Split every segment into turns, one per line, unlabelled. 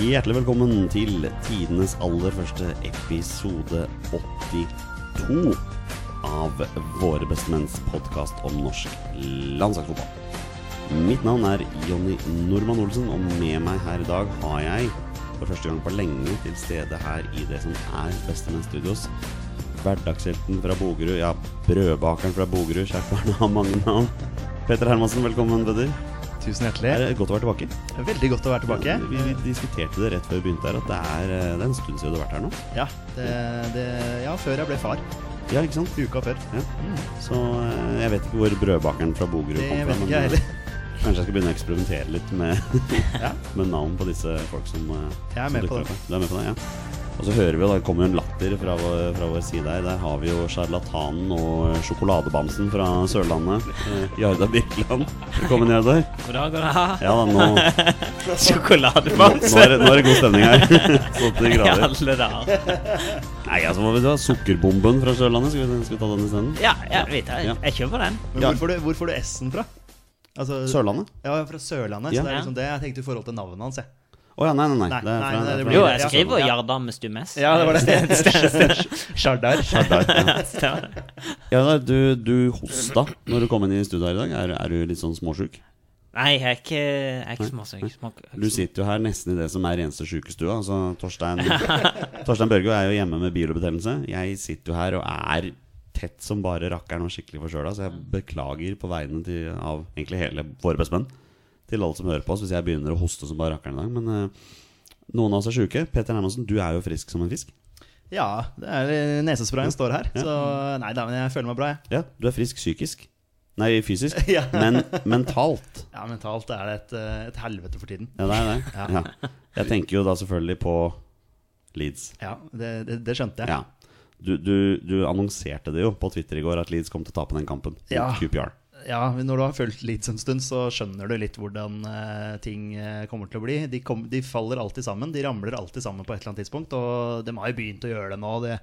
Hjertelig velkommen til tidenes aller første episode 82 av Våre bestemenns podkast om norsk landslagsfotball. Mitt navn er Jonny Normann Olsen, og med meg her i dag har jeg for første gang på lenge til stede her i det som er Bestemenns Studios. Hverdagshelten fra Bogerud, ja, brødbakeren fra Bogerud, kjært barn har mange navn. Petter Hermansen, velkommen, Petter.
Tusen
Er
hjertelig.
det godt å være tilbake?
Veldig godt å være tilbake.
Ja, Vi, vi diskuterte det rett før vi begynte her, at det er, eh, det er en stund siden du har vært her nå.
Ja, det, det, ja, før jeg ble far.
Ja, ikke sant?
Uka før.
Ja. Så eh, jeg vet ikke hvor brødbakeren fra Bogerud
Det
kom fra,
vet
men
ikke
eh,
jeg heller.
kanskje jeg skal begynne å eksperimentere litt med,
Ja.
med navn på disse folk som, eh,
Jeg er
som
med på
dukker
det.
opp her. Du er med på det, ja. Og så hører vi, og det kommer jo en latter fra vår, fra vår side her. Der har vi jo sjarlatanen og sjokoladebamsen fra Sørlandet. eh, Jarda Birkeland. Velkommen, Jardar.
God dag, god dag.
Ja da, nå, nå,
Sjokoladebamse.
er, det- nå er det god stemning her. Så til de
I
grader.
alle dager.
Nei, altså, hva vil du ha? Sukkerbomben fra Sørlandet? Skal vi, skal vi ta den isteden?
Ja, jeg vet det. Jeg- Jeg kjøper den.
Men
Ja.
hvor får du, hvor får du S-en fra? Altså,
Sørlandet?
Ja, jeg er fra Sørlandet.
Ja.
Så det er liksom det jeg tenkte i forhold til navnet hans. Jeg.
Å ja, nei, nei, nei.
Nei,
Det er
nei,
fra,
nei, det
det er
blir-
fra
Jo,
Ja,
jeg skriver jo Jardam med stum S.
Ja, det var det. Stjardar.
Stjardar,
Stemmer det.
ja. ja, da, du, du hosta når du kom inn i studio her i dag. Er, er du litt sånn småsjuk?
Nei, jeg er ikke, jeg er ikke småsyk.
Du sitter jo her nesten i det som er eneste sjukestua. Altså, Torstein, Torstein Børgo er jo hjemme med bilbetennelse. Jeg sitter jo her og er tett som bare rakkeren og skikkelig forkjøla, så jeg beklager på vegne til, av egentlig hele våre bestemenn til alle som hører på oss, hvis jeg begynner å hoste som bare rakkeren i dag. Men eh, noen av oss er sjuke. Peter Hermansen, du er jo frisk som en fisk.
Ja, det er nesesprayen står her. Så nei da, men jeg føler meg bra, jeg.
Ja, du er frisk psykisk. Nei, fysisk.
Ja.
Men mentalt.
Ja, mentalt er det et, eh, et helvete for tiden.
Ja, det er det.
Ja.
Ja. Jeg tenker jo da selvfølgelig på Leeds.
Ja, det, det, det skjønte jeg.
Ja. Du, du, du annonserte det jo på Twitter i går at Leeds kom til å tape den kampen. mot
Ja.
QPR.
Ja, men Når du har fulgt Leeds en stund, så skjønner du litt hvordan eh, ting eh, kommer til å bli. De, kom, de faller alltid sammen. De ramler alltid sammen på et eller annet tidspunkt. Og de har jo begynt å gjøre det nå. Det,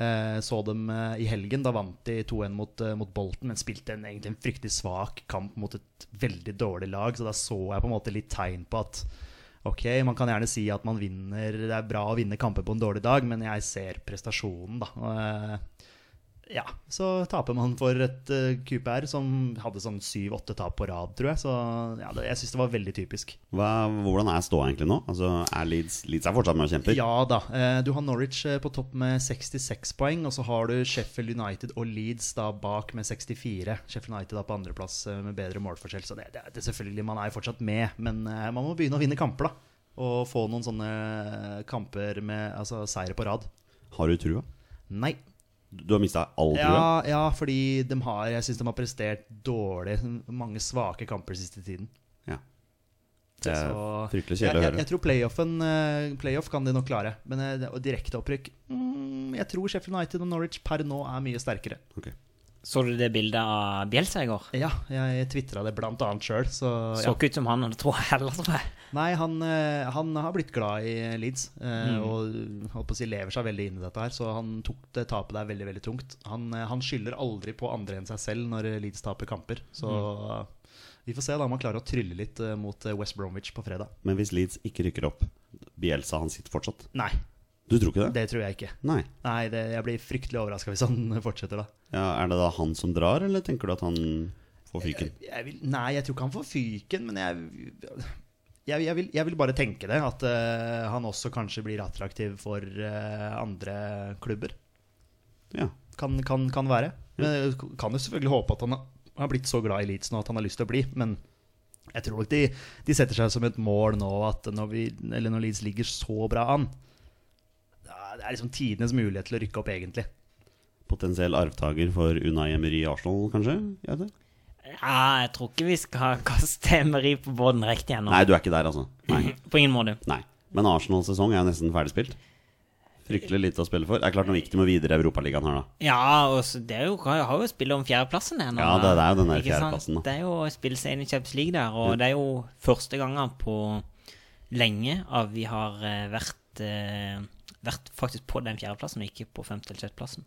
eh, så dem eh, i helgen. Da vant de 2-1 mot, eh, mot Bolton, men spilte en, egentlig en fryktelig svak kamp mot et veldig dårlig lag. Så da så jeg på en måte litt tegn på at ok, man kan gjerne si at man vinner Det er bra å vinne kamper på en dårlig dag, men jeg ser prestasjonen, da. Og, eh, ja, så taper man for et eh, QPR som hadde sånn syv-åtte tap på rad, tror jeg. Så ja, det, jeg syns det var veldig typisk.
Hva, hvordan er ståa egentlig nå? Altså, er Leeds, Leeds er fortsatt med og kjemper.
Ja da. eh, Du har Norwich eh, på topp med 66 poeng, og så har du Sheffield United og Leeds da bak med 64. Sheffield United da på andreplass eh, med bedre målforskjell, så det, det, det selvfølgelig, man er jo fortsatt med. Men eh, man må begynne å vinne kamper, da. Og få noen sånne eh, kamper med altså, seire på rad.
Har du trua?
Nei,
Du har mista all trua?
Ja, ja fordi de har, jeg syns de har prestert dårlig. Mange svake kamper siste tiden.
Ja. Det er
Så-
fryktelig kjedelig
Jeg,
å
jeg,
høre.
jeg tror playoffen eh, playoff kan de nok klare, men eh, det- og direkteopprykk mm, Jeg tror Sheffield United og Norwich per nå er mye sterkere.
Ok.
Så du det bildet av Bjelsa i går?
Ja, jeg tvitra det blant annet sjøl, så
Så
ja.
ikke ut som han, og det tror jeg heller, tror jeg.
Nei, han, eh, han har blitt glad i Leeds eh, og holdt på å si, lever seg veldig inn i dette her. Så han tok det tapet der veldig veldig tungt. Han, eh, han skylder aldri på andre enn seg selv når eh, Leeds taper kamper. Så vi får se da om han klarer å trylle litt eh, mot eh, West Bromwich på fredag.
Men hvis Leeds ikke rykker opp, Bielsa han sitter fortsatt?
Nei,
Du tror ikke det?
det tror jeg ikke.
Nei.
Nei, det, Jeg blir fryktelig overraska hvis han fortsetter, da.
Ja, er det da han som drar, eller tenker du at han
Eh.
får fyken?
Jeg vil, nei, jeg tror ikke han får fyken, men jeg jeg, jeg, vil, jeg vil bare tenke det, at eh, han også kanskje blir attraktiv for eh, andre klubber.
Ja.
kan, kan, kan være. Men
Mm.
jeg kan jo selvfølgelig håpe at han har- har blitt så glad i Leeds nå at han har lyst til å bli. Men jeg tror nok de, de setter seg som et mål nå at når, vi, eller når Leeds ligger så bra an ja, Det er liksom tidenes mulighet til å rykke opp, egentlig.
Potensiell arvtaker for Unai Emery i Arsenal, kanskje? Ja, det.
Ja, jeg tror ikke vi skal kaste Emery på båten riktig ennå.
Nei, du er ikke der, altså. Nei.
På ingen måte.
Nei. Men Arsenals sesong er jo nesten ferdigspilt. Fryktelig lite å spille for. Det er klart nå gikk de jo videre i Europaligaen her, da.
Ja, og så det er jo, har jo spillet om fjerdeplassen ennå.
Ja, det- det er jo den der
Ikke sant?
fjerdeplassen, da.
Det er jo å spille seg inn i Champions League der, og det er jo første gangen på lenge at vi har eh, vært, eh, vært faktisk på den fjerdeplassen, og ikke på femte- eller sjetteplassen.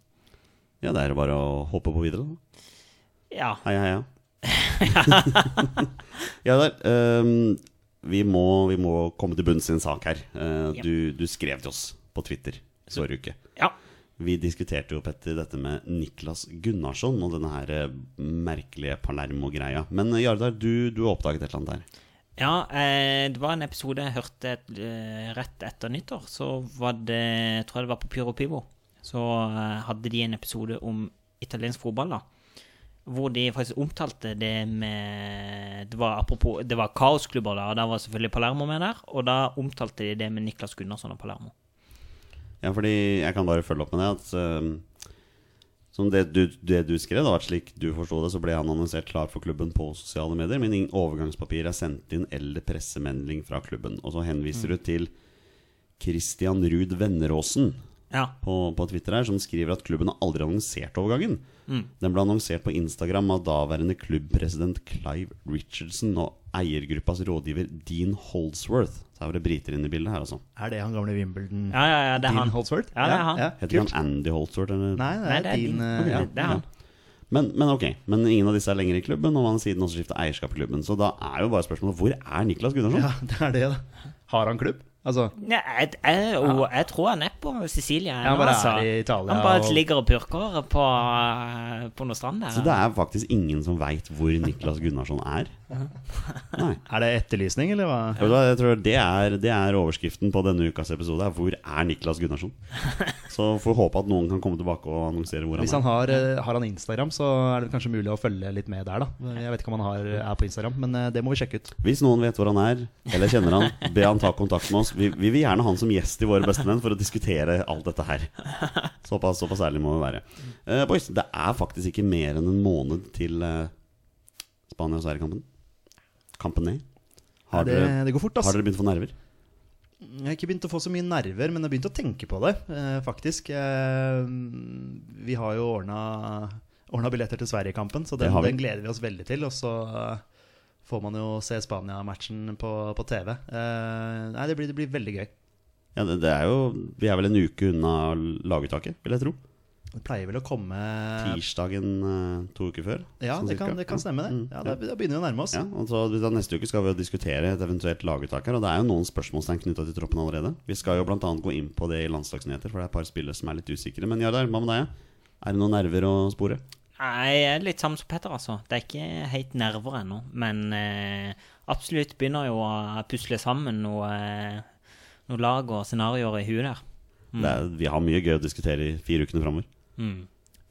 Ja, det er jo bare å hoppe på videre, da.
Ja.
Heia, heia. ja, der. ehm, vi må, vi må komme til bunns i en sak her. Eh,
Ja.
du, du skrev til oss på Twitter forrige uke.
Ja.
Vi diskuterte jo, Petter, dette med Niklas Gunnarsson og denne her eh, merkelige Palermo-greia. Men eh, Jardar, du, du har oppdaget et eller annet her.
Ja, eh, det var en episode jeg hørte eh, rett etter nyttår. Så var det Jeg tror det var på Pyro Pivo. Så eh, hadde de en episode om italiensk fotball, da. Hvor de faktisk omtalte det med Det var apropos, det var kaosklubber, da. Og da var selvfølgelig Palermo med der. Og da omtalte de det med Niklas Gunnarsson og Palermo.
Ja, fordi jeg kan bare følge opp med det. At, eh, som det du, det du skrev, da, at slik du forsto det, så ble han annonsert klar for klubben på sosiale medier. Men ingen overgangspapir er sendt inn eller pressemelding fra klubben. Og så
Mm.
henviser du til Christian Ruud Venneråsen.
Ja.
på, på Twitter her, som skriver at klubben har aldri annonsert overgangen.
Mm.
Den ble annonsert på Instagram av daværende klubbpresident Clive Richardson og eiergruppas rådgiver Dean Holdsworth. Så her var det briter inne i bildet her, altså.
Er det han gamle Wimbledon?
Ja, ja, ja, det er
Dean
han.
Holdsworth?
Ja, det er han.
Heter ikke
kult.
han Andy Holdsworth, eller?
Nei, det
Nei,
er,
det er
Dean,
Dean.
eh, ja.
Det er han.
Men, men ok, men ingen av disse er lenger i klubben, og man har siden også skiftet eierskap i klubben. Så da er jo bare spørsmålet hvor er Niklas Gunnarsson?
ja, det er det, da. Har han klubb? Altså,
Nei, jeg, jeg, og jeg tror han er på Sicilia.
Ja, han bare
nå, altså.
er i Italia
han bare
og-
ligger og purker på, eh, på noe strand der.
Så det er faktisk ingen som veit hvor Niklas Gunnarsson er. Nei.
er det etterlysning, eller hva?
Vet du hva, Jeg tror det er, det er overskriften på denne ukas episode. Er hvor er Niklas Gunnarsson? Så får vi håpe at noen kan komme tilbake og annonsere hvor han
Hvis
er.
han har, eh, har han Instagram, så er det kanskje mulig å følge litt med der, da. Jeg vet ikke om han har, er på Instagram, men eh, det må vi sjekke ut.
Hvis noen vet hvor han er, eller kjenner han, be han ta kontakt med oss. Vi, vi vil gjerne ha han som gjest i Våre bestemenn for å diskutere alt dette her. Såpass, såpass ærlig må vi være. Eh, boys, det er faktisk ikke mer enn en måned til eh, Spania og Sverige-kampen. Kampen ned. Har,
det,
dere-
det går fort, ass.
har dere begynt å få nerver?
Jeg har ikke begynt å få så mye nerver, men jeg har begynt å tenke på det, eh, faktisk. Eh, vi har jo ordna, ordna billetter til Sverigekampen, så
Det
den,
har vi.
den gleder vi oss veldig til. Og så eh, får man jo se Spania-matchen på, på TV. Eh, nei, det blir, det blir veldig gøy.
Ja, det, det er jo, vi er vel en uke unna laguttaket, vil jeg tro.
Det pleier vel å komme
tirsdagen eh, to uker før.
Ja,
sånn
det kan,
cirka.
det kan stemme, det.
Mm,
Ja, da, da begynner vi å nærme oss.
Ja, og så da Neste uke skal vi jo diskutere et eventuelt laguttak her. Og det er jo noen spørsmålstegn knytta til troppen allerede. Vi skal jo bl.a. gå inn på det i landslagsnyheter, for det er et par spillere som er litt usikre. Men Jardar, hva med deg? Er det noen nerver å spore?
Nei, jeg er litt sammen som Petter, altså. Det er ikke helt nerver ennå. Men eh, absolutt begynner jo å pusle sammen noe, eh, noe lag og scenarioer i huet der. Mm.
Det er, vi har mye gøy å diskutere i fire ukene framover.
Mm.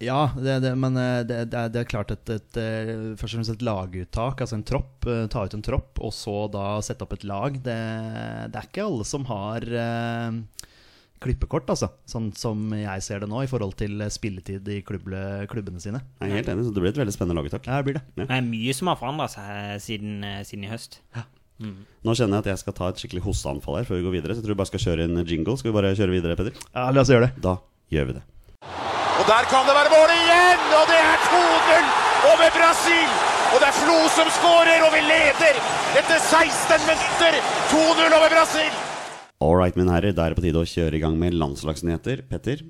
Ja, det, det, men eh, det, det, er, det er klart et, et, eh, først og fremst et laguttak, altså en tropp. eh, Ta ut en tropp, og så da sette opp et lag. Det, det er ikke alle som har eh, klippekort, altså. Sånn som jeg ser det nå, i forhold til eh, spilletid i klubble, klubbene sine.
Jeg er helt enig, så det blir et veldig spennende laguttak.
Ja, det blir det.
Det er mye som har forandra seg siden, eh, siden i høst. Mm.
Nå kjenner jeg at jeg skal ta et skikkelig hosteanfall her før vi går videre. Så jeg tror vi bare skal kjøre en jingle. Skal vi bare kjøre videre, Peder?
Ja, La oss gjøre det.
Da gjør vi det.
Og der kan det være mål igjen! Og det er 2-0 over Brasil! Og det er Flo som skårer, og vi leder etter 16 minutter! 2-0 over Brasil!
All right, mine herrer, da er det på tide å kjøre i gang med landslagsnyheter. Petter,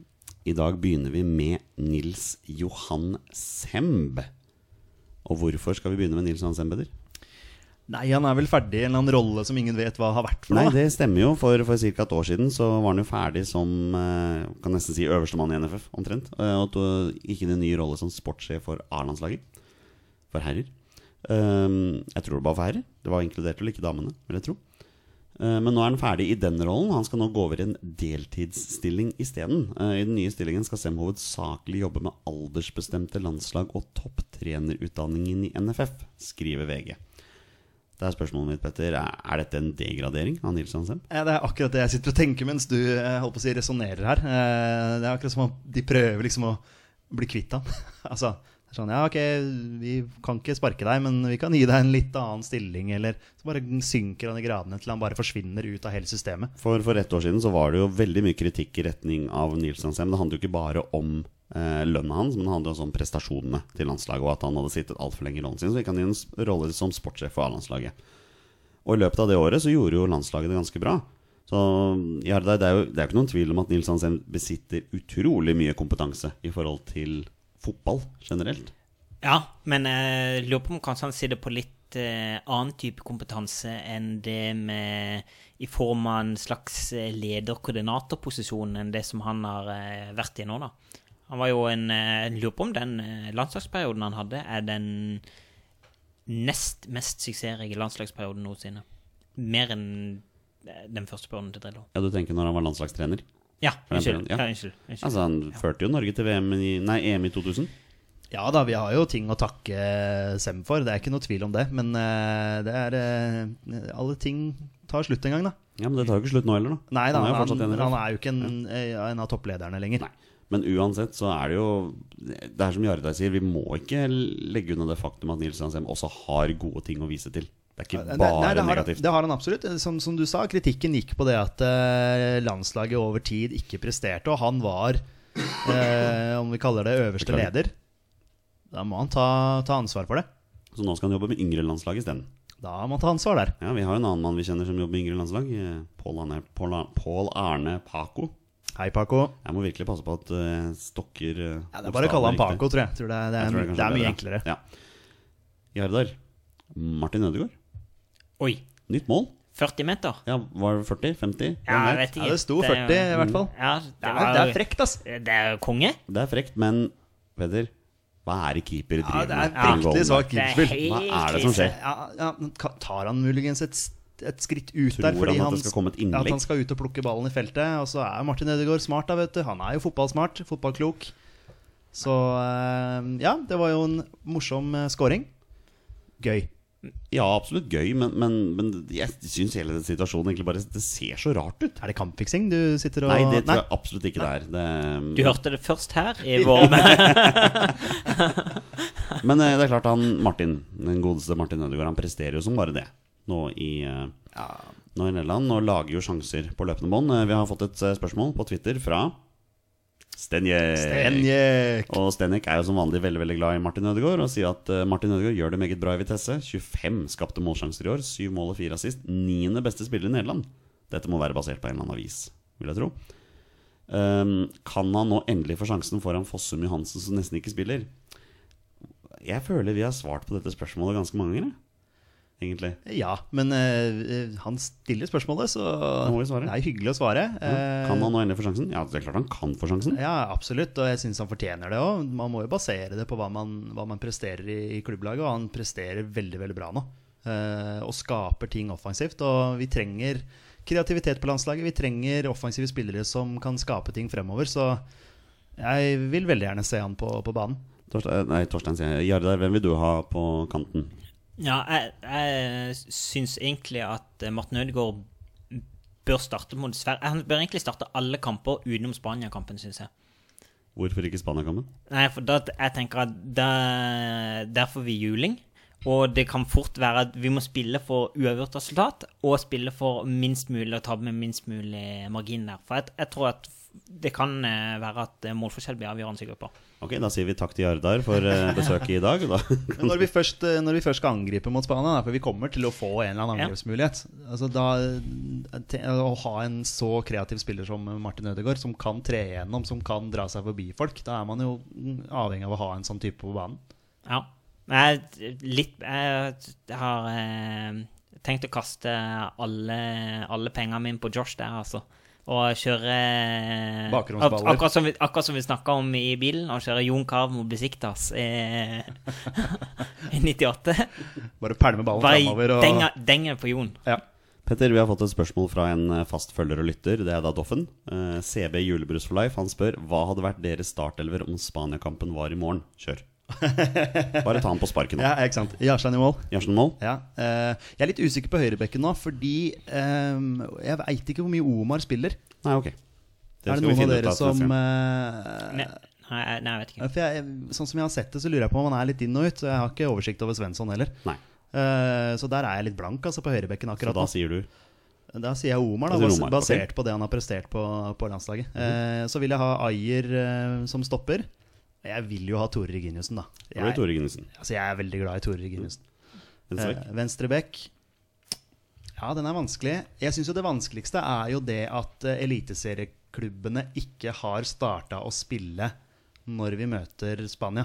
i dag begynner vi med Nils Johan Semb. Og hvorfor skal vi begynne med Nils Johan Semb, Peder?
Nei, han er vel ferdig i en eller annen rolle som ingen vet hva har vært for
Nei,
noe. da.
det stemmer jo. For, for ca. et år siden så var han jo ferdig som eh, kan nesten si øverstemann i NFF, omtrent. eh, Og to, gikk inn i en ny rolle som sportssjef for A-landslaget. For herrer. Ehm, jeg tror det var for herrer. Det var inkludert vel ikke damene, vil jeg tro. Eh, Men nå er han ferdig i den rollen. Han skal nå gå over i en deltidsstilling isteden. Eh, I den nye stillingen skal Sem hovedsakelig jobbe med aldersbestemte landslag og topptrenerutdanningen i NFF, skriver VG. Det er spørsmålet mitt, Petter. Er er dette en degradering av Nils Hansem?
Ja, det er akkurat det jeg sitter og tenker mens du eh, holdt på å si resonnerer her. Eh, Det er akkurat som om de prøver liksom å bli kvitt ham. altså, det er sånn, ja ok, vi kan ikke sparke deg, men vi kan gi deg en litt annen stilling, eller så bare synker han i gradene til han bare forsvinner ut av hele systemet.
For, for ett år siden så var det jo veldig mye kritikk i retning av Nils Hansem. Det handlet jo ikke bare om eh, lønna hans, men det handlet også om prestasjonene til landslaget, og at han hadde sittet altfor lenge i rollen sin, så gikk han i en s- rolle som sportssjef for A-landslaget. Og i løpet av det året så gjorde jo landslaget det ganske bra. Så Jardar, det er jo det er jo ikke noen tvil om at Nils Hansem besitter utrolig mye kompetanse i forhold til fotball generelt.
eh, Ja, men jeg lurer på om kanskje han sitter på litt litt eh, annen type kompetanse enn det med I form av en slags eh, leder-koordinatorposisjon enn det som han har eh, vært i nå, da. Han var jo en eh, jeg Lurer på om den eh, landslagsperioden han hadde, er den nest mest suksessrike landslagsperioden noensinne. Mer enn eh, den første perioden til Drillo.
Ja, du tenker når han var landslagstrener?
Ja,
den
unnskyld.
perioden, ja.
Ja, unnskyld, unnskyld.
Altså, han førte jo Norge til VM i, nei, EM i 2000.
Ja da, vi har jo ting å takke eh, Sem for, det er ikke noe tvil om det. Men eh, det er eh, Alle ting tar slutt en gang, da.
Ja, men det tar jo ikke slutt nå heller, da.
Nei da,
han er jo
han,
fortsatt
han,
enig.
han er jo ikke en, eh, en av topplederne lenger.
Nei. Men uansett så er det jo Det er som Jardar sier, vi må ikke legge unna det faktum at Nils Hansem også har gode ting å vise til. Det er ikke
Nei,
bare
nei, det har,
negativt.
Det har han absolutt. Som, som du sa, kritikken gikk på det at eh, landslaget over tid ikke presterte, og han var, eh, om vi kaller det, øverste
Beklager.
leder. Da må han ta, ta ansvar for det.
Så nå skal han jobbe med yngre landslag isteden.
Da må han ta ansvar der.
Ja, vi har jo en annen mann vi kjenner som jobber med yngre landslag. eh, Pål Arne, Pål Ar- Pål Arne Paco.
Hei, Paco.
Jeg må virkelig passe på at eh, stokker eh,
Ja, det er bare å kalle han
bokstavene riktig.
Paco, tror jeg. Tror det, er- det,
Jeg
er,
tror kanskje
det er mye
bedre.
enklere.
Ja. Jardar. Martin Ødegaard.
Oi.
Nytt mål.
40 meter?
Ja, var det 40? 50?
Ja,
Hvem
jeg vet
vet?
Ja,
ikke. eh,
det sto 40 i hvert fall.
Ja,
Det
det,
er,
var,
det er frekt, ass.
Eh, Det er jo konge.
Det er frekt, men Peder, hva er det keeper
Ja,
driver
det er
med?
et
Goal.
riktig svakt
Det er
keeperspill.
helt
Hva er det som skjer?
krise.
Ja, ja, men ka- tar han muligens et, s- et skritt ut
Tror
der fordi
han at
han,
det skal komme et
ja, at
innlegg?
han skal ut og plukke ballen i feltet? Og så er Martin Ødegaard smart, da, vet du. Han er jo fotballsmart, fotballklok. Så eh, ja, det var jo en morsom eh, scoring. Gøy.
Ja, absolutt gøy, men, men, men jeg syns hele den situasjonen egentlig bare Det ser så rart ut.
Er det kampfiksing du sitter og
Nei, det tror jeg absolutt ikke det er.
Du
Det,
hørte det først her i vår
men eh, det er klart, han Martin, den godeste Martin Ødegaard, han presterer jo som bare det nå i eh, Nå i Nederland, og lager jo sjanser på løpende bånd. Eh, Vi har fått et eh, spørsmål på Twitter fra Stenje.
Stenjek.
Og Stenek er jo som vanlig veldig veldig glad i Martin Ødegaard og sier at eh, Martin Ødegaard gjør det meget bra i Vitesse. 25 skapte målsjanser i år, 7 mål og 4 assist. Niende beste spiller i Nederland. Dette må være basert på en eller annen avis, vil jeg tro. Ehm, kan han nå endelig få sjansen foran Fossum Johansen, som nesten ikke spiller? Jeg føler vi har svart på dette spørsmålet ganske mange ganger, jeg. egentlig.
Ja, men eh, eh, han stiller spørsmålet, så
Nå må vi svare.
det er hyggelig å svare. Eh,
Kan han nå endelig få sjansen? Ja, det er klart han kan få sjansen.
Ja, absolutt, og jeg syns han fortjener det òg. Man må jo basere det på hva man, hva man presterer i, i klubblaget, og han presterer veldig veldig bra nå. Eh, og skaper ting offensivt. Og vi trenger kreativitet på landslaget. Vi trenger offensive spillere som kan skape ting fremover, så jeg vil veldig gjerne se han på, på banen.
Torstein, eh, nei, Torstein sier jeg. Jardar, hvem vil du ha på kanten?
Ja, jeg, jeg syns egentlig at Martin Ødegaard bør starte mot Sverige. Han bør egentlig starte alle kamper utenom Spania-kampen, syns jeg.
Hvorfor ikke Spania-kampen?
Nei, for da, jeg tenker at da, der får vi juling. Og det kan fort være at vi må spille for uavgjort resultat, og spille for minst mulig og tape med minst mulig margin der. For jeg, jeg tror at det kan eh, være at målforskjell blir avgjørende i gruppa.
Ok, da sier vi takk til Jardar for eh, besøket i dag. Da.
Men når vi først, eh, når vi først skal angripe mot Spania, da, for vi kommer til å få en eller annen
Ja.
angrepsmulighet altså, da, eh, te- Å ha en så kreativ spiller som Martin Ødegaard, som kan tre igjennom, som kan dra seg forbi folk, da er man jo mm, avhengig av å ha en sånn type på banen.
Ja. Jeg, er litt, jeg har eh, tenkt å kaste alle, alle pengene mine på Josh der, altså. Og kjøre eh,
Bakromsballer.
ak- Akkurat som vi, akkurat som vi snakka om i bilen, og kjøre Jon Carew mot Besiktas eh, i 98.
Bare pælme ballen framover
Bare
og
denge, denge på Jon.
ja.
Petter, vi har fått et spørsmål fra en eh, fast følger og lytter. Det er da Doffen. Eh, CB Julebrus for life. Han spør hva hadde vært deres startelver om Spania-kampen var i morgen. Kjør. Bare ta han på sparket nå.
ja, ikke sant. Jarstein i mål.
Jarsen Moll?
Ja. eh, jeg er litt usikker på høyrebekken nå, fordi eh, jeg veit ikke hvor mye Omar spiller.
Nei, ok.
er
skal
det
vi
noen av
finne ut
dere
av til
som
neste gang.
eh,
Nei, nei, jeg- nei, jeg vet
Ja,
ikke.
For jeg, sånn som jeg har sett det, så lurer jeg på om han er litt inn og ut. og Jeg har ikke oversikt over Svensson heller.
Nei.
Eh, så der er jeg litt blank altså, på høyrebekken
Så
akkurat
da
nå.
sier du
Da sier jeg Omar, da,
Da sier
bas-
Omar, ok. Mhm.
basert på det han har prestert på, på landslaget. Eh, så vil jeg ha Ayer eh, som stopper. Jeg vil jo ha Tore Reginiussen, da.
Da blir det
Jeg,
Tore Gunnisen.
altså, jeg er veldig glad i Tore Reginiussen.
Venstrebekk.
Eh, Venstrebekk. Ja, den er vanskelig. Jeg syns jo det vanskeligste er jo det at eh, eliteserieklubbene ikke har starta å spille når vi møter Spania.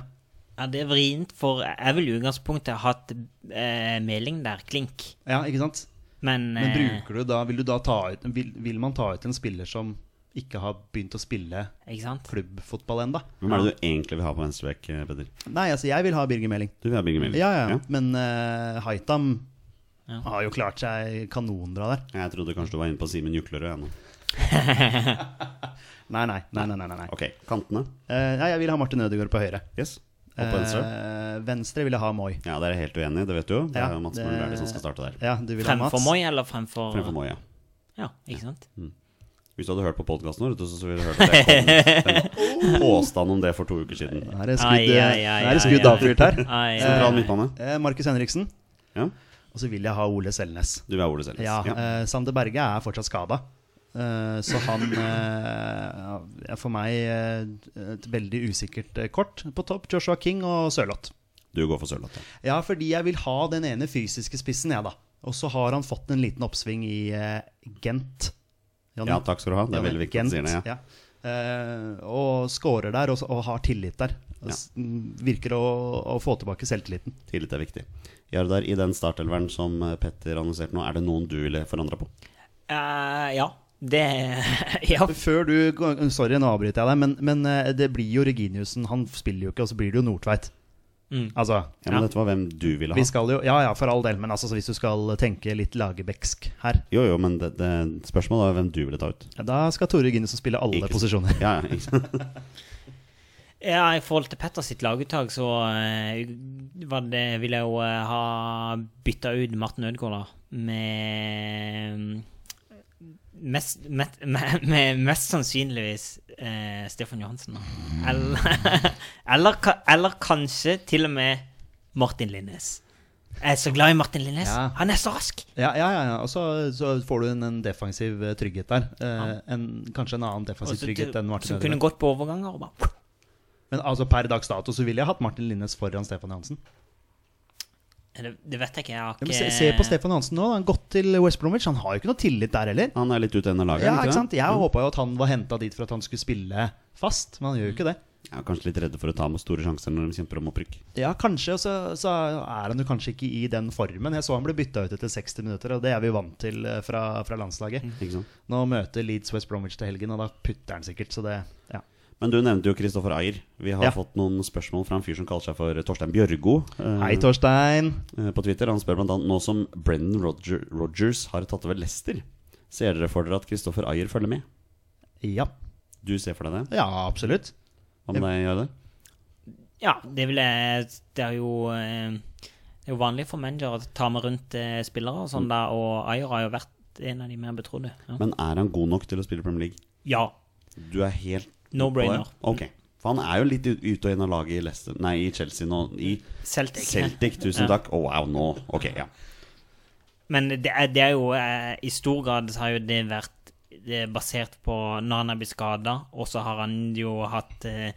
Ja, det er vrient, for jeg vil i utgangspunktet ha hatt eh, melding der, klink.
Ja, ikke sant?
Men,
Men
eh,
bruker du da Vil, du da ta ut, vil, vil man ta ut en spiller som ikke har begynt å spille
Ikke sant?
klubbfotball ennå?
Hvem er det du egentlig vil ha på venstrebekk, eh, Peder?
Nei, altså, jeg vil ha Birger Meling.
Du vil ha Birger Meling?
Ja, ja, Men eh, Haitam
Ja.
har jo klart seg kanonbra der.
Jeg trodde kanskje du var inne på Simen Juklerød ennå.
Nei, nei, nei. nei, nei, nei.
Ok, kantene.
Eh, nei, jeg vil ha Martin Ødegaard på høyre.
Yes. Opp på venstre.
Eh, venstre vil jeg ha Moi.
Ja, der er jeg helt uenig, det vet du jo. Det
Ja,
er jo Mats
det-
Møller Berli som skal starte der.
Ja, du vil ha
Fremfor
Mats.
Moi eller fremfor
Fremfor Moi, ja.
Ja, ikke sant?
Hvis du hadde hørt på podkasten vår, vet du, så ville du hørt at jeg kom med en påstand om det for to uker siden.
Nå er det
Ai, ai,
skudd, eh,
ai,
nå er det
ai,
skudd
ai.
avfyrt her.
Ai, ai,
Sentral
ai.
midtbane.
Eh, Markus Henriksen.
Ja.
Og så vil jeg ha Ole Selnes.
Du vil ha Ole Selnes.
Ja,
Ja.
eh, Sander Berge er fortsatt skada. Eh, så han eh, er for meg eh, et veldig usikkert eh, kort på topp. Joshua King og Sørloth.
Du går for Sørlandet.
Ja, fordi jeg vil ha den ene fysiske spissen, jeg, da. Og så har han fått en liten oppsving i eh, Gent. Jonny.
Ja, takk skal du ha. Det er
Jonny,
veldig viktig at du sier det. Ja.
ja. Eh, og scorer der, og, så- og har tillit der. Og s- mm, Virker å, å få tilbake selvtilliten.
Tillit er viktig. Jardar, i den startelveren som eh, Petter annonserte nå, er det noen du ville forandra på?
Eh, ja. Det Ja.
Før du går- Sorry, nå avbryter jeg deg, men, men eh, det blir jo Reginiussen. Han spiller jo ikke, og så blir det jo Nordtveit.
Mm.
Altså,
Ja, men
Ja.
dette var hvem du ville
vi
ha.
skal jo Ja ja, for all del, men altså, så hvis du skal tenke litt lagerbäcksk her,
Jo, jo, men det, det spørsmålet var hvem du ville ta ut.
ja, da skal Tore Reginiussen spille alle
Ikke sant.
posisjoner.
Ja, ja, ikke sant.
ja, I forhold til Petter sitt laguttak, så eh, var det, ville jeg jo eh, ha bytta ut Martin Ødegaard da, med mm, Mest, mest, med, med mest sannsynligvis eh, Stefan Johansen. da. Eller, eller, ka- eller kanskje til og med Martin Linnes. Jeg er så glad i Martin Linnes.
Ja.
Han er så rask!
Ja, ja, ja, ja. Og så, så får du en, en defensiv eh, trygghet der. Eh, en, kanskje en annen defensiv
Også
trygghet
til-
enn Martin
som kunne
Ødegaard.
gått på overganger. og Bare.
Men altså, per dags dato så ville jeg hatt Martin Linnes foran Stefan Johansen.
Det, det vet jeg ikke. Jeg har
Ja,
ikke
men se, se på Stefan Johansen nå. da. Han har gått til West Bromwich. Han har jo ikke noe tillit der heller.
Han er litt ute av laget?
Ja,
er han
ikke sant?
det?
Jeg håpa jo at han var henta dit for at han skulle spille fast, men han gjør jo ikke det.
Jeg er kanskje litt redde for å ta med store sjanser når de kjemper om opprykk.
Ja, kanskje, og så, så er han jo kanskje ikke i den formen. Jeg så han ble bytta ut etter 60 minutter, og det er vi vant til eh, fra, fra landslaget.
Ikke sant?
Nå møter Leeds West Bromwich til helgen, og da putter han sikkert, så det ja.
Men du nevnte jo Kristoffer Ayer. Vi har
Ja.
fått noen spørsmål fra en fyr som kaller seg for Torstein Bjørgo eh,
Hei, Torstein.
eh, på Twitter. Han spør bl.a.: Nå som Brendan Roger, Rogers har tatt over Leicester, ser dere for dere at Kristoffer Ayer følger med?
Ja.
Du ser for deg det?
ja, absolutt.
Hva med deg, Jarle?
Ja, det vil jeg Det er jo eh, Det er jo vanlig for manager å ta med rundt eh, spillere og
Mm.
sånn, da, og Ayer har jo vært en av de mer betrodde. Ja.
Men er han god nok til å spille i Premier League?
ja.
Du er helt
No
på det?
brainer.
Ok. For han er jo litt ut- ute og inn av laget i, Leicester, nei, i Chelsea nå. I
Celtic.
Celtic, tusen takk. Å, wow, nå. Ok, ja.
Men det er, det er jo eh, I stor grad så har jo det vært eh, basert på når han har blitt skada, og så har han jo hatt eh,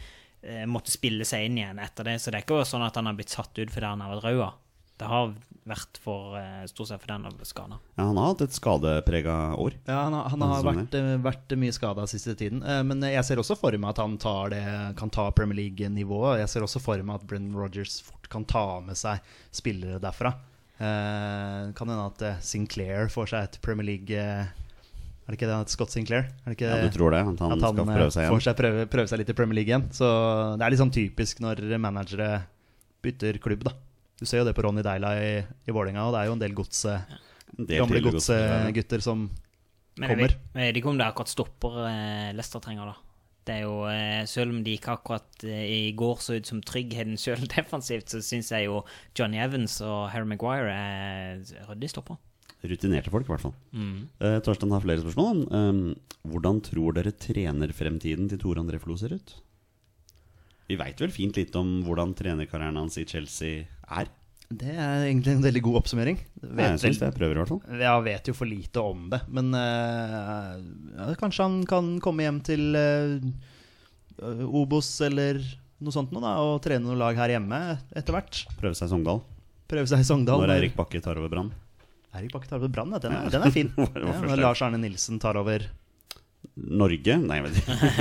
eh, Måtte spille seg inn igjen etter det, så det er ikke jo sånn at han har blitt satt ut fordi han har vært rød. Det har vært for eh, stort sett fordi han har blitt skada.
ja. Han har hatt et skadeprega år.
Ja, han, har- han har
Denne sesongen.
vært, eh, vært mye skada siste tiden. Eh, Men jeg ser også for meg at han tar det, kan ta Premier League-nivået. Jeg ser også for meg at Brennan Rogers fort kan ta med seg spillere derfra. Eh, Kan hende at eh, Sinclair får seg et Premier League eh, Er det ikke det han heter? Scott Sinclair? Er det ikke
Ja, du tror det? At han,
at han
skal
eh,
prøve seg
får
igjen?
seg prøve, prøve seg litt i Premier League igjen? Så det er litt sånn typisk når managere bytter klubb, da. Du ser jo det på Ronny Deila i, i Vålerenga, og det er jo en del gods, eh,
En del
gamle
til gods-
godsgutter som
Men jeg
kommer.
vet, jeg vet ikke om det er akkurat stopper eh, Leicester trenger, da. Det er jo, eh, Selv om de ikke akkurat eh, i går så ut som tryggheten sjøl defensivt, så syns jeg jo Johnny Evans og Harry Maguire er ryddig stopper.
Rutinerte folk, i hvert fall. Eh, Torstein har flere spørsmål. Um, hvordan tror dere trenerfremtiden til Tore André Flo ser ut? Vi veit vel fint litt om hvordan trenerkarrieren hans i Chelsea er?
Det er egentlig en veldig god oppsummering.
Jeg
Vet,
synes det. Jeg prøver i hvert fall.
vel- jeg vet jo for lite om det, men eh, ja, kanskje han kan komme hjem til eh, Obos eller noe sånt nå, da, og trene noen lag her hjemme etter hvert.
Prøve seg i Sogndal.
Prøve seg i Sogndal.
Når Eirik Bakke tar over Brann.
Eirik Bakke tar over Brann, ja, den, er- den er fin.
Det var
Ja,
første
når
gang.
Lars Arne Nilsen tar over
Norge? Nei, jeg vet ikke.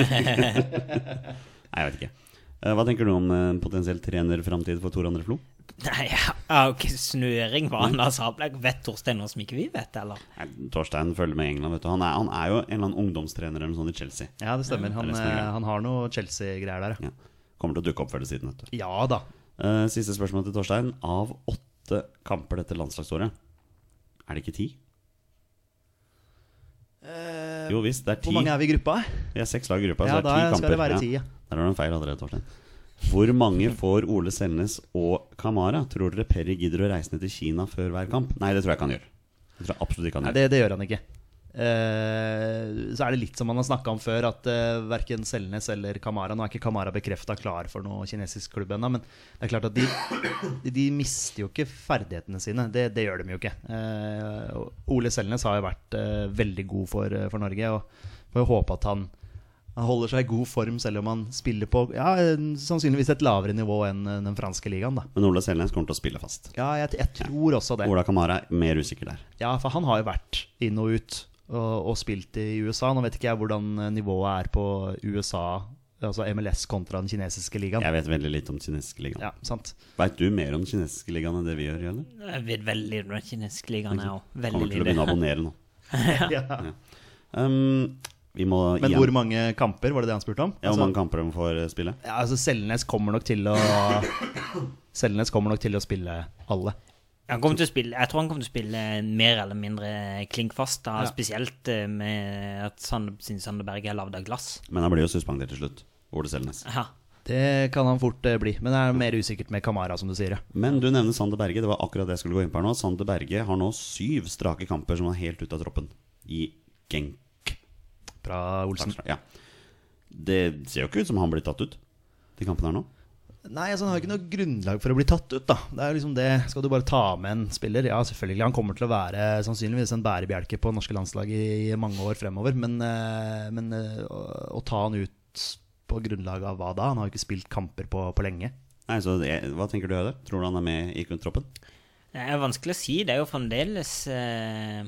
Nei, jeg vet ikke. Eh, Hva tenker du om eh, en potensiell trenerframtid for Tor André Flo?
Nei, jeg har jo ikke snøring hva han har sabla. Vet Torstein noe som ikke vi vet, eller?
Nei, Torstein følger med i England, vet du. Han er, han er jo en eller annen ungdomstrener eller noe sånt i Chelsea.
Ja, det stemmer. Han,
det er
eh,
smart.
han har noe Chelsea-greier der, ja.
Ja. Kommer til å dukke opp før eller siden, vet du.
Ja da.
Eh, siste spørsmål til Torstein. Av åtte kamper dette landslagsåret, er det ikke ti? jo visst, det er ti.
Eh, Hvor mange er vi i gruppa?
Vi er seks lag i gruppa,
Ja,
så det
da
er ti kamper.
skal det være ti, ja.
Der har du en feil allerede, Torstein. Hvor mange får Ole Selnes og Kamara? Tror dere Perry gidder å reise ned til Kina før hver kamp? Nei, det tror jeg ikke han gjør. Det tror jeg absolutt ikke han
Nei,
gjør.
det, det gjør han ikke. Eh, så er det litt som man har snakka om før, at uh, verken Selnes eller Kamara Nå er ikke Kamara bekrefta klar for noe kinesisk klubb ennå, men det er klart at de, de mister jo ikke ferdighetene sine. Det, det gjør de jo ikke. Eh, og Ole Selnes har jo vært eh, veldig god for, for Norge, og får jo håpe at han han holder seg i god form selv om han spiller på ja, en- sannsynligvis et lavere nivå enn eh, den franske ligaen. Da.
Men Ole Selnes kommer til å spille fast.
Ja, jeg, jeg tror også det.
Ola Kamara er mer usikker der.
Ja, for han har jo vært inn og ut og, og spilt i USA. Nå vet ikke jeg hvordan eh, nivået er på USA, altså MLS kontra den kinesiske ligaen.
Jeg vet veldig litt om den kinesiske ligaen.
Ja, sant.
Veit du mer om den kinesiske ligaen enn det vi gjør, Jølle?
Jeg vet veldig lite om kinesisk liga, jeg òg. Veldig
Kommer til å begynne å
lite.
abonnere nå.
Ja.
Um, vi må
Men hvor mange kamper, var det det han spurte om?
ja, hvor
Altså,
mange kamper de får eh, spille?
ja, altså Selnes kommer nok til å Selnes kommer nok til å spille alle.
Han kommer til å spille, jeg tror han kommer til å spille mer eller mindre klink fast, da, spesielt eh, med at Sande, sin Sander Berge er lagd av glass.
Men han blir jo suspendert til slutt. Ole Selnes.
Ja.
Det kan han fort eh, bli, men det er mer usikkert med Kamara, som du sier. ja.
Men du nevner Sander Berge. Det var akkurat det jeg skulle gå inn på her nå. Sander Berge har nå syv strake kamper som er helt ute av troppen i Genk.
Fra Olsen.
Takk skal du ha. Ja. Det ser jo ikke ut som han blir tatt ut, de kampene her nå.
Nei, altså, han har jo ikke noe grunnlag for å bli tatt ut, da. Det er jo liksom det. Skal du bare ta med en spiller? Ja, selvfølgelig. Han kommer til å være sannsynligvis en bærebjelke på det norske landslaget i mange år fremover. Men, eh, men eh, å, å ta han ut på grunnlag av hva da? Han har jo ikke spilt kamper på, på lenge.
Nei, så det, Hva tenker du, Høyde? Tror du han er med i troppen?
Det er vanskelig å si. Det er jo fremdeles eh,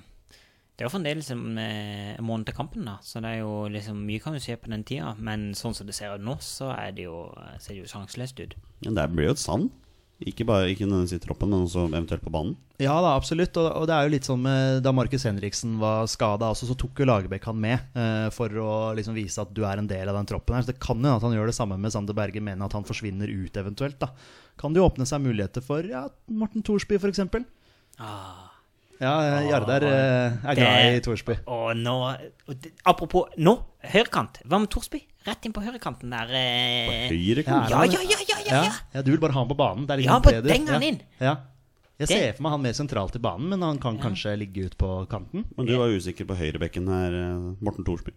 Det er jo fremdeles en eh, en måned til kampen, da. Så det er jo liksom mye kan jo skje på den tida. Men sånn som det ser ut nå, så er det jo, eh, ser det jo sjanseløst ut.
Men det blir jo et sand. Ikke bare ikke nødvendigvis i troppen, men også eventuelt på banen.
Ja da, absolutt. Og, og det er jo litt sånn med da Markus Henriksen var skada også, så tok jo Lagerbäck han med eh, for å liksom vise at du er en del av den troppen her. Så det kan jo at han gjør det samme med Sander Berge, men at han forsvinner ut eventuelt. da. Kan det jo åpne seg muligheter for ja, Morten Thorsby f.eks.?
Ah.
Ja, eh, Jardar eh, er glad i
Det-
Thorsby.
Og nå og det, Apropos nå, høyrekant. Hva med Thorsby? Rett inn på høyrekanten der. eh.
Høyre
Ja,
kant.
Ja, ja, ja, ja, ja, ja.
Du vil bare ha han på banen? Det er liksom
Ja, bare
det du-
deng han
ja.
inn.
Ja.
Det-
Jeg ser for meg han mer sentralt i banen, men han kan kanskje ligge ut på kanten.
Men du var usikker på høyrebekken her, eh, Morten Thorsby.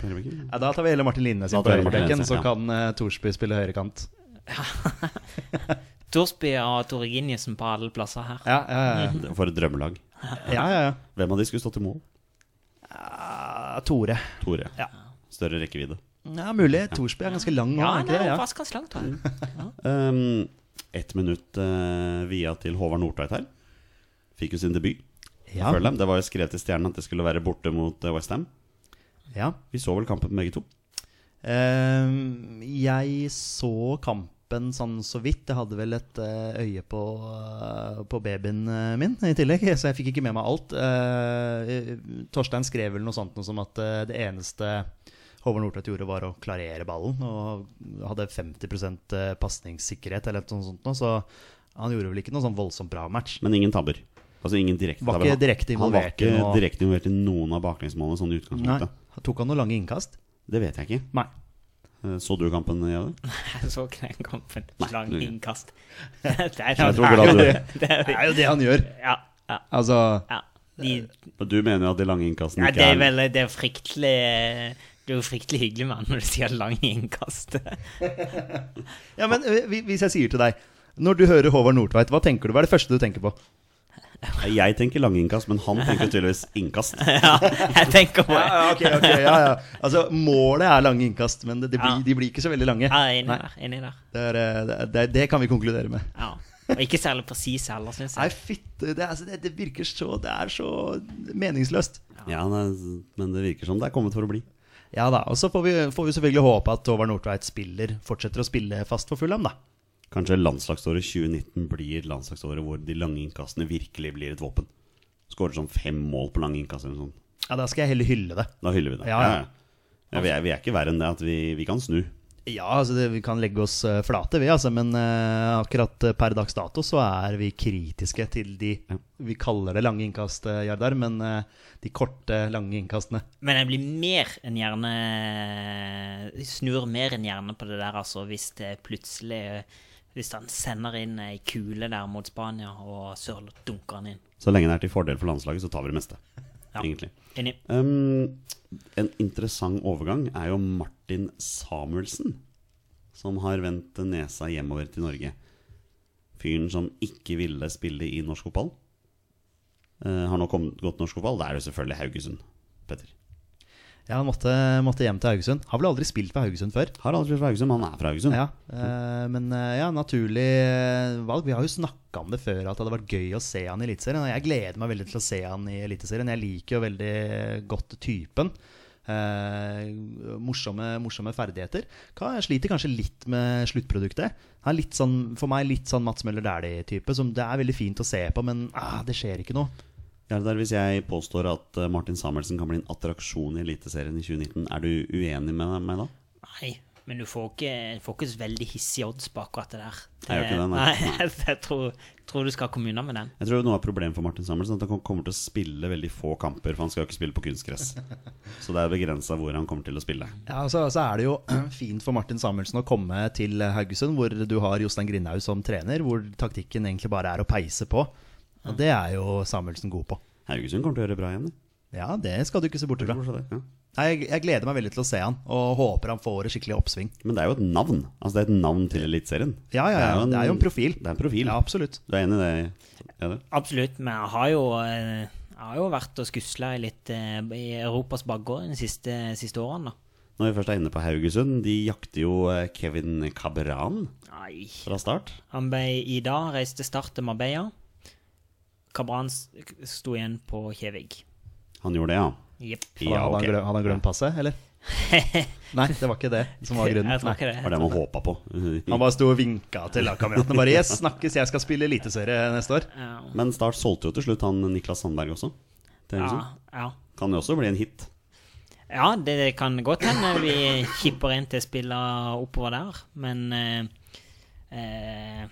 Høyrebekken?
Ja, da tar vi hele Martin Linnes
Da
inn på
tar vi Martin
høyrebekken,
Linnes,
så
ja.
kan eh, Thorsby spille høyrekant.
Thorsby og Tore Giniussen på alle plasser her.
Ja, ja, ja.
Mm.
For et drømmelag.
ja, ja, ja.
Hvem av de skulle stått i mål?
Ah, Tore.
Tore.
Ja.
Større rekkevidde.
Ja, mulig. Thorsby er ganske lang nå.
Ja,
er
han
ikke
er
det?
jo
ja.
vaskende slangt, tror jeg.
Um, ett minutt eh, via til Håvard Nordtveit her. Fikk jo sin debut.
Ja.
Føler jeg. Det var jo skrevet til Stjernen at det skulle være borte mot eh, West Ham
Ja.
Vi så vel kampen begge to.
Ehm, jeg så kampen sånn så vidt. Jeg hadde vel et eh, øye på, eh, på babyen eh, min i tillegg, så jeg fikk ikke med meg alt. Eh, Torstein skrev vel noe sånt noe som at eh, det eneste Håvard Nordtvedt gjorde, var å klarere ballen. Og hadde 50 pasningssikkerhet eller noe sånt. Noe, så han gjorde vel ikke noe sånn voldsomt bra match.
Men ingen tabber. Altså ingen direkte
Var
tabber.
ikke direkte
han var
involvert i
ikke
noe-
direkte involvert i noen av baklengsmålene sånn i
Nei.
utgangspunktet.
Tok han noen lange innkast?
Det vet jeg ikke.
Nei.
Eh, Så du kampen, Jade?
Jeg så ikke den kampen.
Nei,
Lang
du-
innkast. Det er,
Jeg tror ikke det.
det er-
Det er jo det han gjør.
Ja. ja,
Altså
ja. De,
Men Du mener jo at de lange innkassene
ja
ikke
det er
er
vel det er fryktelig Det er jo fryktelig hyggelig med han når du sier lang innkast.
Ja, men ø, hvi- hvis jeg sier til deg Når du hører Håvard Nordtveit, hva tenker du? Hva er det første du tenker på?
Jeg tenker lange innkast, men han tenker tydeligvis innkast.
Ja, jeg tenker på det.
ok, ok, ja, ja Altså, målet er lange innkast, men det, det blir,
Ja.
de blir ikke så veldig lange.
Ja, jeg er enig
Nei,
der. Enig der.
det, er, ø, det, er- det, det kan vi konkludere med.
Ja. Og ikke særlig presis heller, syns
Nei,
jeg.
fytte, det, er- altså, det, det virker så Det er så meningsløst.
Ja, nei, men det virker som det er kommet for å bli.
Ja da, og så får vi, får vi selvfølgelig håpe at Håvard Nordtveit spiller, fortsetter å spille fast for Fulham, da.
Kanskje landslagsåret 2019 blir landslagsåret hvor de lange innkastene virkelig blir et våpen. Skårer sånn fem mål på lange innkast eller noe sånt.
Ja, Da skal jeg heller hylle det.
Da hyller vi det.
Ja, ja.
Ja, vi, er, vi er ikke verre enn det at vi, vi kan snu.
Ja, altså det, vi kan legge oss eh, flate, vi, altså. Men eh, akkurat eh, per dags dato så er vi kritiske til de
Ja.
Vi kaller det lange innkast, eh, Jardar, men eh, de korte, lange innkastene.
Men jeg blir mer enn gjerne jeg Snur mer enn gjerne på det der, altså, hvis det plutselig Hvis han sender inn ei kule der mot Spania, og Sørloth dunker han inn.
Så lenge det er til fordel for landslaget, så tar vi det meste. Egentlig.
Enig.
Um, en interessant overgang er jo Martin Samuelsen, som har vendt nesa hjemover til Norge. Fyren som ikke ville spille i norsk fotball. Eh, har nå kommet godt norsk fotball. Da er det selvfølgelig Haugesund, Petter.
Ja, han måtte, måtte hjem til Haugesund. Har vel aldri spilt for Haugesund før.
Har aldri vært fra Haugesund, men han er fra Haugesund.
Ja, eh, men eh, ja, naturlig eh, valg. Vi har jo snakka om det før, at det hadde vært gøy å se han i Eliteserien. Og jeg gleder meg veldig til å se han i Eliteserien. Jeg liker jo veldig godt typen. Eh, morsomme, morsomme ferdigheter. Ka- Jeg sliter kanskje litt med sluttproduktet. Han er litt sånn, for meg litt sånn Mats Møller Dæhlie-type. Som det er veldig fint å se på, men ah, det skjer ikke noe.
Ja, det er hvis jeg påstår at eh, Martin Samuelsen kan bli en attraksjon i Eliteserien i 2019, er du uenig med meg da?
Nei, men du får ikke, du får ikke så veldig hissige odds på akkurat det der.
Jeg gjør ikke det, nei.
nei. jeg tror, tror du skal komme unna med den.
Jeg tror noe av problemet for Martin Samuelsen er at han kom- kommer til å spille veldig få kamper, for han skal jo ikke spille på kunstgress. Så det er begrensa hvor han kommer til å spille.
Ja, og så, så er det jo fint for Martin Samuelsen å komme til Haugesund, hvor du har Jostein Grindhaug som trener, hvor taktikken egentlig bare er å peise på. Og det er jo Samuelsen god på.
Haugesund kommer til å gjøre det bra igjen. de.
Ja, det skal du ikke se bort fra.
Hvorfor det? Ja.
Nei, Jeg, jeg gleder meg veldig til å se han, og håper han får et skikkelig oppsving.
Men det er jo et navn. Altså Det er et navn til Eliteserien.
Ja, ja, ja. Det er jo en profil.
Det er en profil.
Ja, absolutt.
Du er enig i det? Jadar?
Absolutt, men jeg har jo, eh, jeg har jo vært og skusla litt eh, i Europas bakgård de siste, siste årene, da.
Når vi først er inne på Haugesund, de jakter jo eh, Kevin Cabran
Nei.
fra start.
Han ble i dag reist til start til Marbella. Cabran s- sto igjen på Kjevig.
Han gjorde det, ja.
Jepp.
Ja, ok.
hadde, han glemt, hadde han glemt passet, eller? Nei, det var ikke det som var grunnen.
Jeg tror ikke
Nei.
det.
Det var det man håpa på.
Han bare sto og vinka til lagkameratene. Bare 'yes, snakkes, jeg skal spille eliteserie neste år'.
Ja,
Men Start solgte jo til slutt han Niklas Sandberg også. Til
ja,
Haugesund.
ja.
Kan jo også bli en hit.
ja, det det kan godt hende vi kipper inn til spiller oppover der, men eh, eh,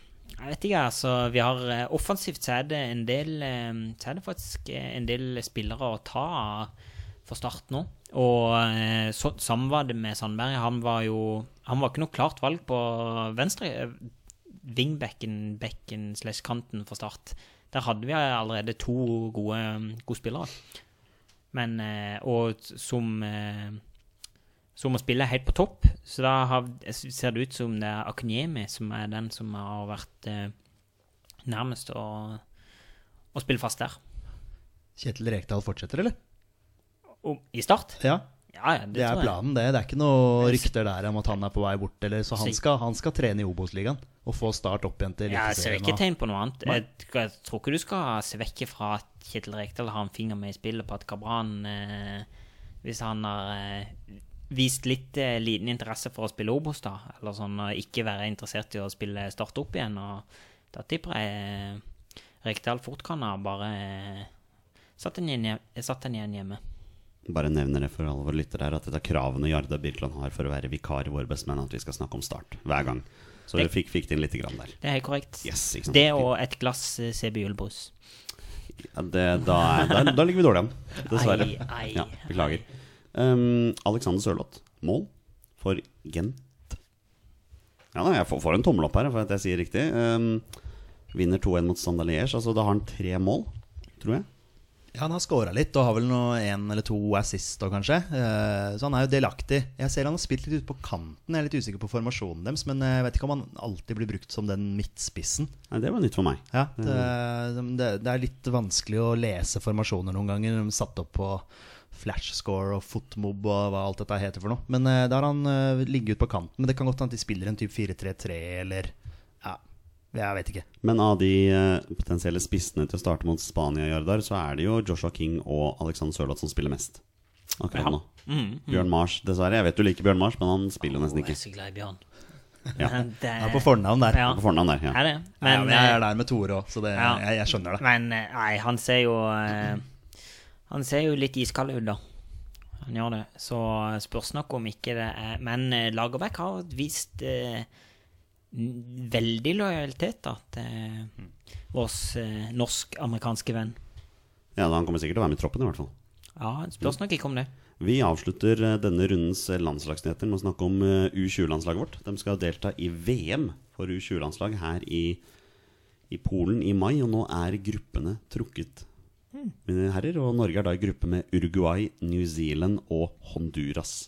Jeg vet ikke, altså. Vi har eh, offensivt så er det en del eh, Så er det faktisk eh, en del spillere å ta av for start nå. Og eh, så, samme var det med Sandberg. Han var jo Han var ikke noe klart valg på venstre eh, vingbekken, bekken slash kanten for start. Der hadde vi allerede to gode, gode spillere. Men eh, Og som eh, som å spille helt på topp. Så da har, ser det ut som det er Akunyemi som er den som har vært eh, nærmest å, å spille fast der.
Kjetil Rekdal fortsetter, eller?
Og, I start?
Ja.
Ja, ja, det,
Det er
tror jeg.
planen, det. Det er ikke noe rykter der om at han er på vei bort. Eller, så han skal, han skal trene i Obos-ligaen og få Start opp igjen til
Ja, jeg ser ikke
Eliteserien.
tegn på noe annet. Jeg, jeg tror ikke du skal se vekk fra at Kjetil Rekdal har en finger med i spillet på at Kabran eh, Hvis han har eh, vist litt eh, liten interesse for å spille Obos, da, eller sånn og ikke være interessert i å spille Start opp igjen, og da tipper jeg eh, Rekdal fort kan ha bare eh, satt den igjen, hjem- satt den igjen hjemme.
Bare nevner det for alle våre lyttere her at dette er kravene Jarda Birkeland har for å være vikar i Våre bestemenn, at vi skal snakke om Start hver gang. Så vi fikk, fikk det inn lite grann der.
Det er helt korrekt.
Yes, ikke sant?
Det og et glass eh, CB julebrus.
Ja, det, da, er, da, da ligger vi dårlig an, dessverre.
Ai, ai,
ja, beklager. Um, Alexander Sørloth, mål for Gent. Ja, da, jeg får, får en tommel opp her for at jeg sier riktig. Um, vinner 2-1 mot Standard Liège. Altså, da har han tre mål, tror jeg.
Ja, han har scora litt og har vel noe én eller to assist og kanskje. Eh, Så han er jo delaktig. Jeg ser han har spilt litt ute på kanten. Jeg er litt usikker på formasjonen deres, men eh, jeg vet ikke om han alltid blir brukt som den midtspissen.
Nei, det var nytt for meg.
Ja, det, eh, det, det er litt vanskelig å lese formasjoner noen ganger. De er Satt opp på flashscore og footmob og hva alt dette heter for noe. Men eh, da har han eh, ligget ut på kanten. Men det kan godt hende at de spiller en type 4-3-3 eller Ja, jeg vet ikke.
Men av de eh, potensielle spissene til å starte mot Spania, Jardar, så er det jo Joshua King og Alexander Sørloth som spiller mest. akkurat nå.
Mm.
Bjørn Mars, dessverre. Jeg vet du liker Bjørn Mars, men han spiller jo
Å,
nesten
Jeg
ikke.
er så glad i Bjørn.
Ja.
Men det-
Jeg er på fornavn der.
Ja,
På fornavn der, ja.
er det.
Nei,
Men, eh,
men jeg
eh,
er der med Tore òg, så det,
Ja.
jeg, jeg skjønner det.
men eh, nei, han ser jo eh, Han ser jo litt iskald ut, da. Han gjør det. Så eh, spørs nok om ikke det er Men eh, Lagerbäck har vist eh, n- veldig lojalitet da, til vår eh, norsk-amerikanske venn.
Ja, da Han kommer sikkert til å være med i troppen, i hvert fall.
Ja, spørs nok ikke om det.
Vi avslutter eh, denne rundens eh, landslagsnyheter med å snakke om U20-landslaget vårt. De skal delta i VM for U20-landslag her i, i Polen i mai, og nå er gruppene trukket. Mine herrer, og Norge er da i gruppe med Uruguay, New Zealand og Honduras.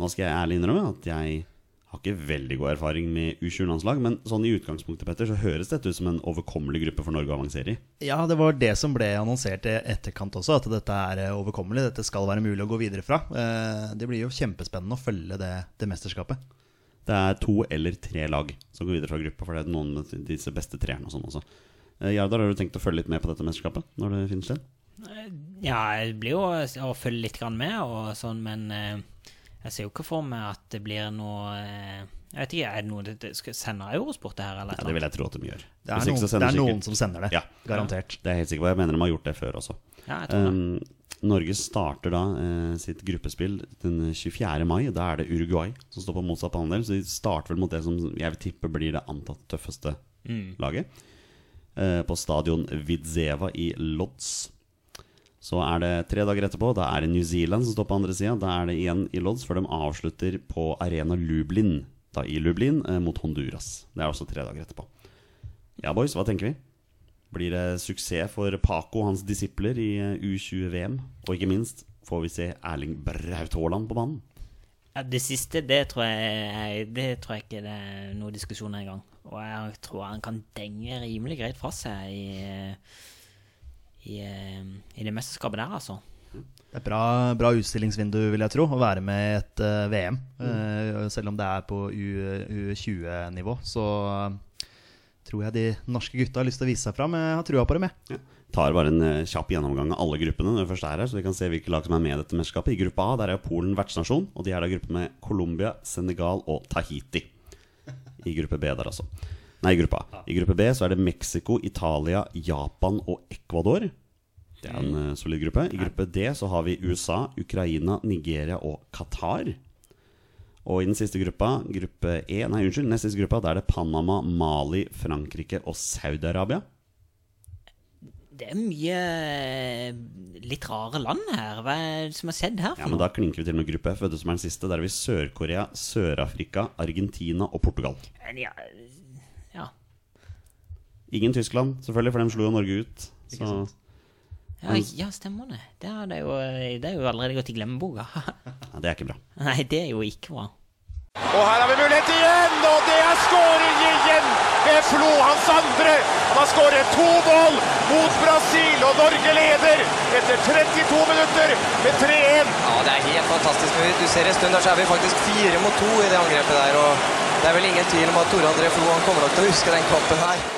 Nå skal jeg ærlig innrømme at jeg har ikke veldig god erfaring med U20-landslag, men sånn i utgangspunktet, Petter, så høres dette ut som en overkommelig gruppe for Norge å avansere i.
Ja, det var det som ble annonsert i etterkant også, at dette er eh, overkommelig. Dette skal være mulig å gå videre fra. Eh, Det blir jo kjempespennende å følge det, det mesterskapet.
Det er to eller tre lag som går videre fra gruppa, for det er noen med disse beste treerne og sånn også. Eh, Jardar, har du tenkt å følge litt med på dette mesterskapet når det finner sted?
Ja, jeg blir jo eh, å følge litt grann med, og sånn, men eh, jeg ser jo ikke for meg at det blir noe eh, Jeg vet ikke, er det noe det, det skal sender Eurosport det her, eller
Ja,
et
det
eller
vil jeg tro at de gjør.
Det
Hvis ikke,
er, noen,
så
det
sender
er
sikkert-
noen som sender det.
Ja.
Garantert.
Det er jeg helt sikker på. Jeg mener de har gjort det før også.
annet? Ja, jeg tror det.
Um, Norge starter da eh, sitt gruppespill den 24. mai. og Da er det Uruguay som står på motsatt andel. Så de starter vel mot det som jeg vil tippe blir det antatt tøffeste
Mm.
laget. Eh, på stadion Vidzeva i Lodz. Så er det tre dager etterpå. Da er det New Zealand som står på andre sida. Da er det igjen i Lodz, før de avslutter på Arena Lublin. Da i Lublin eh, mot Honduras. Det er også tre dager etterpå. Ja, boys, hva tenker vi? Blir det suksess for Paco og hans disipler i eh, U20-VM? Og ikke minst, får vi se Erling Braut Haaland på banen?
Ja, det siste, det tror jeg, det tror jeg ikke det er noen diskusjon her engang. Og jeg tror han kan denge rimelig greit fra seg i, i, eh, i det mesterskapet der, altså.
Det er et bra, bra utstillingsvindu, vil jeg tro, å være med i et eh, VM. Eh, selv om det er på U- U20-nivå, så eh, tror jeg de norske gutta har lyst til å vise seg fram. Jeg har trua på dem, jeg.
Tar bare en eh, kjapp gjennomgang av alle gruppene når vi først er her, så vi kan se hvilke lag som er med i dette mesterskapet. I gruppe A der er Polen vertsnasjon, og de er da i gruppe med Colombia, Senegal og Tahiti. I gruppe B der, altså. Nei, i gruppe A. I gruppe B så er det Mexico, Italia, Japan og Ecuador. Det er en eh, solid gruppe. I gruppe D så har vi USA, Ukraina, Nigeria og Qatar. Og i den siste gruppa, gruppe E, nei unnskyld, nest siste gruppa, der er det Panama, Mali, Frankrike og Saudi-Arabia.
Det er mye eh, litt rare land her. Hva er det som har skjedd her?
Ja, men da klinker vi til med gruppe F, vet du som er den siste. Der er vi Sør-Korea, Sør-Afrika, Argentina og Portugal.
Men ja, ja.
Ingen Tyskland, selvfølgelig, for dem slo jo Norge ut. Så
Ja, ja, stemmer det. Det er, det, jo, det er jo allerede gått i glemmeboka.
ja, det er ikke bra.
Nei, det er jo ikke bra.
Og her har vi mulighet igjen, og det er skåring igjen ved Flo, hans andre. Han har skåret to mål mot Brasil, og Norge leder etter 32 minutter med 3-1.
Ja, det er helt fantastisk. Du ser en stund der så er vi faktisk fire mot to i det angrepet der. Og det er vel ingen tvil om at Tore André Flo han kommer nok til å huske den kampen her.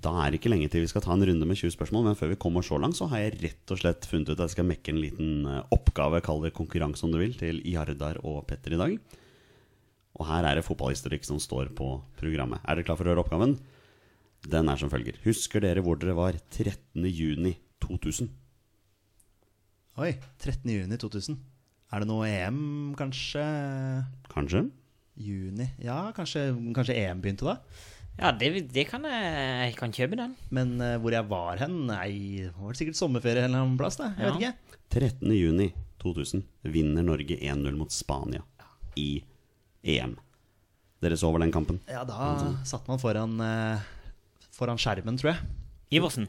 Da er det ikke lenge til vi skal ta en runde med 20 spørsmål, men før vi kommer så langt, så har jeg rett og slett funnet ut at jeg skal mekke en liten eh, oppgave, kall det konkurranse om du vil, til Jardar og Petter i dag. Og her er det fotballhistorikk som står på programmet. Er dere klar for å høre oppgaven? Den er som følger. Husker dere hvor dere var 13.6.2000?
Oi. 13.6.2000. Er det noe EM, kanskje?
Kanskje?
Juni? Ja, kanskje, kanskje EM begynte da?
Ja, det, det kan jeg, jeg kan kjøpe den.
Men eh, hvor jeg var hen? Nei, det var sikkert sommerferie eller en plass, da. Jeg
Ja.
vet ikke.
13. juni 2000 vinner Norge 1-0 mot Spania i EM. Dere så vel den kampen?
Ja, da satt man foran, eh, foran skjermen, tror jeg.
Iversen.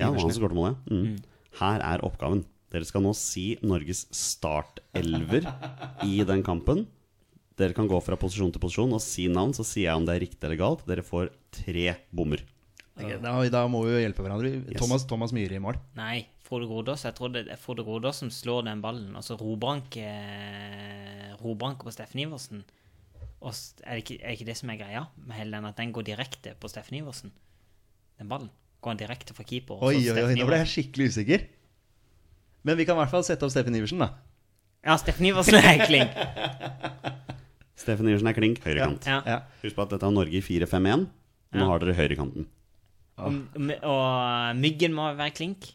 Ja, det var han som skåret målet. Mm. Her er oppgaven. Dere skal nå si Norges startelver i den kampen. Dere kan gå fra posisjon til posisjon og si navn, så sier jeg om det er riktig eller galt. Dere får tre bommer.
Ok, da, da må vi jo hjelpe hverandre. Thomas, Thomas Myhre i mål.
Nei, Frode Grodås. Jeg tror det er Frode Grodås som slår den ballen. Og så robranke Robranke på Steffen Iversen. Og s- er det, ikke, er det ikke det som er greia med hele den, at den går direkte på Steffen Iversen? Den ballen. Går han direkte fra keeper. og så
Oi, oi, oi,
Steffen
nå ble
Iversen.
jeg skikkelig usikker. Men vi kan i hvert fall sette opp Steffen Iversen, da.
Ja, Steffen Iversen er klink.
Steffen Iversen er klink, høyrekant.
Ja.
Ja.
Husk på at dette er Norge i 4-5-1. Nå
Ja.
har dere høyrekanten.
M- Og eh, Myggen må være klink.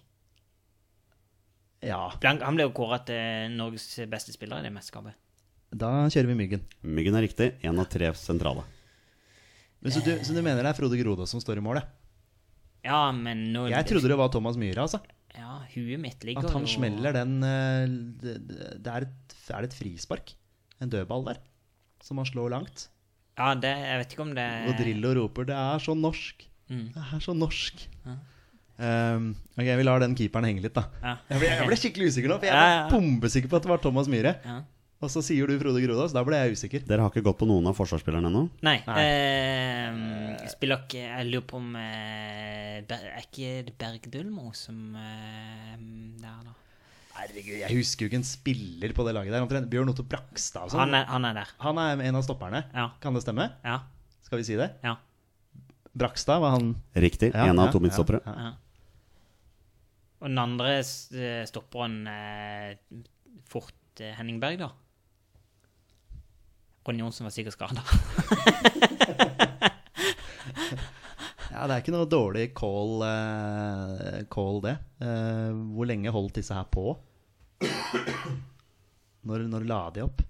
ja.
Blank, han ble jo kåra til Norges beste spiller i det mesterskapet.
Da kjører vi Myggen.
Myggen er riktig. Én av tre sentrale.
Men så, du, så du mener det er Frode Grodås som står i målet?
Ja, men nå
Jeg trodde det var Thomas Myhre, altså.
Ja, huet mitt ligger
At han
jo-
smeller den eh, det, det- det er, et, er det et frispark? En dødball der? Som han slår langt?
Ja, det, jeg vet ikke om det
Og Drillo roper 'det er så norsk'.
Mm.
Det er så norsk. Ehm, ok, Vi lar den keeperen henge litt, da.
Ja.
Jeg ble, jeg ble skikkelig usikker nå, for jeg
Ja, ja,
var
ja.
bombesikker på at det var Thomas Myhre.
Ja.
Og så sier du Frode Grodås. Da ble jeg usikker.
Dere har ikke gått på noen av forsvarsspillerne ennå?
Nei. Eh, spiller ikke Jeg lurer på om eh, Ber- Er ikke det Bergdølmo som eh, der, da?
Herregud, Jeg husker jo ikke en spiller på det laget der. omtrent. Bjørn Otto Brakstad og sånn.
Han er, han er der.
Han er en av stopperne.
Ja.
Kan det stemme?
Ja.
Skal vi si det?
ja.
Brakstad var han
Riktig.
Ja,
Én av
ja,
to midtstoppere.
ja, ja.
Og den andre s- eh, stopperen eh, fort eh, Henning Berg, da. Ronny Johnsen var sikkert skada.
Ja, Det er ikke noe dårlig call, eh, call det. Eh, hvor lenge holdt disse her på? Når, når la de opp?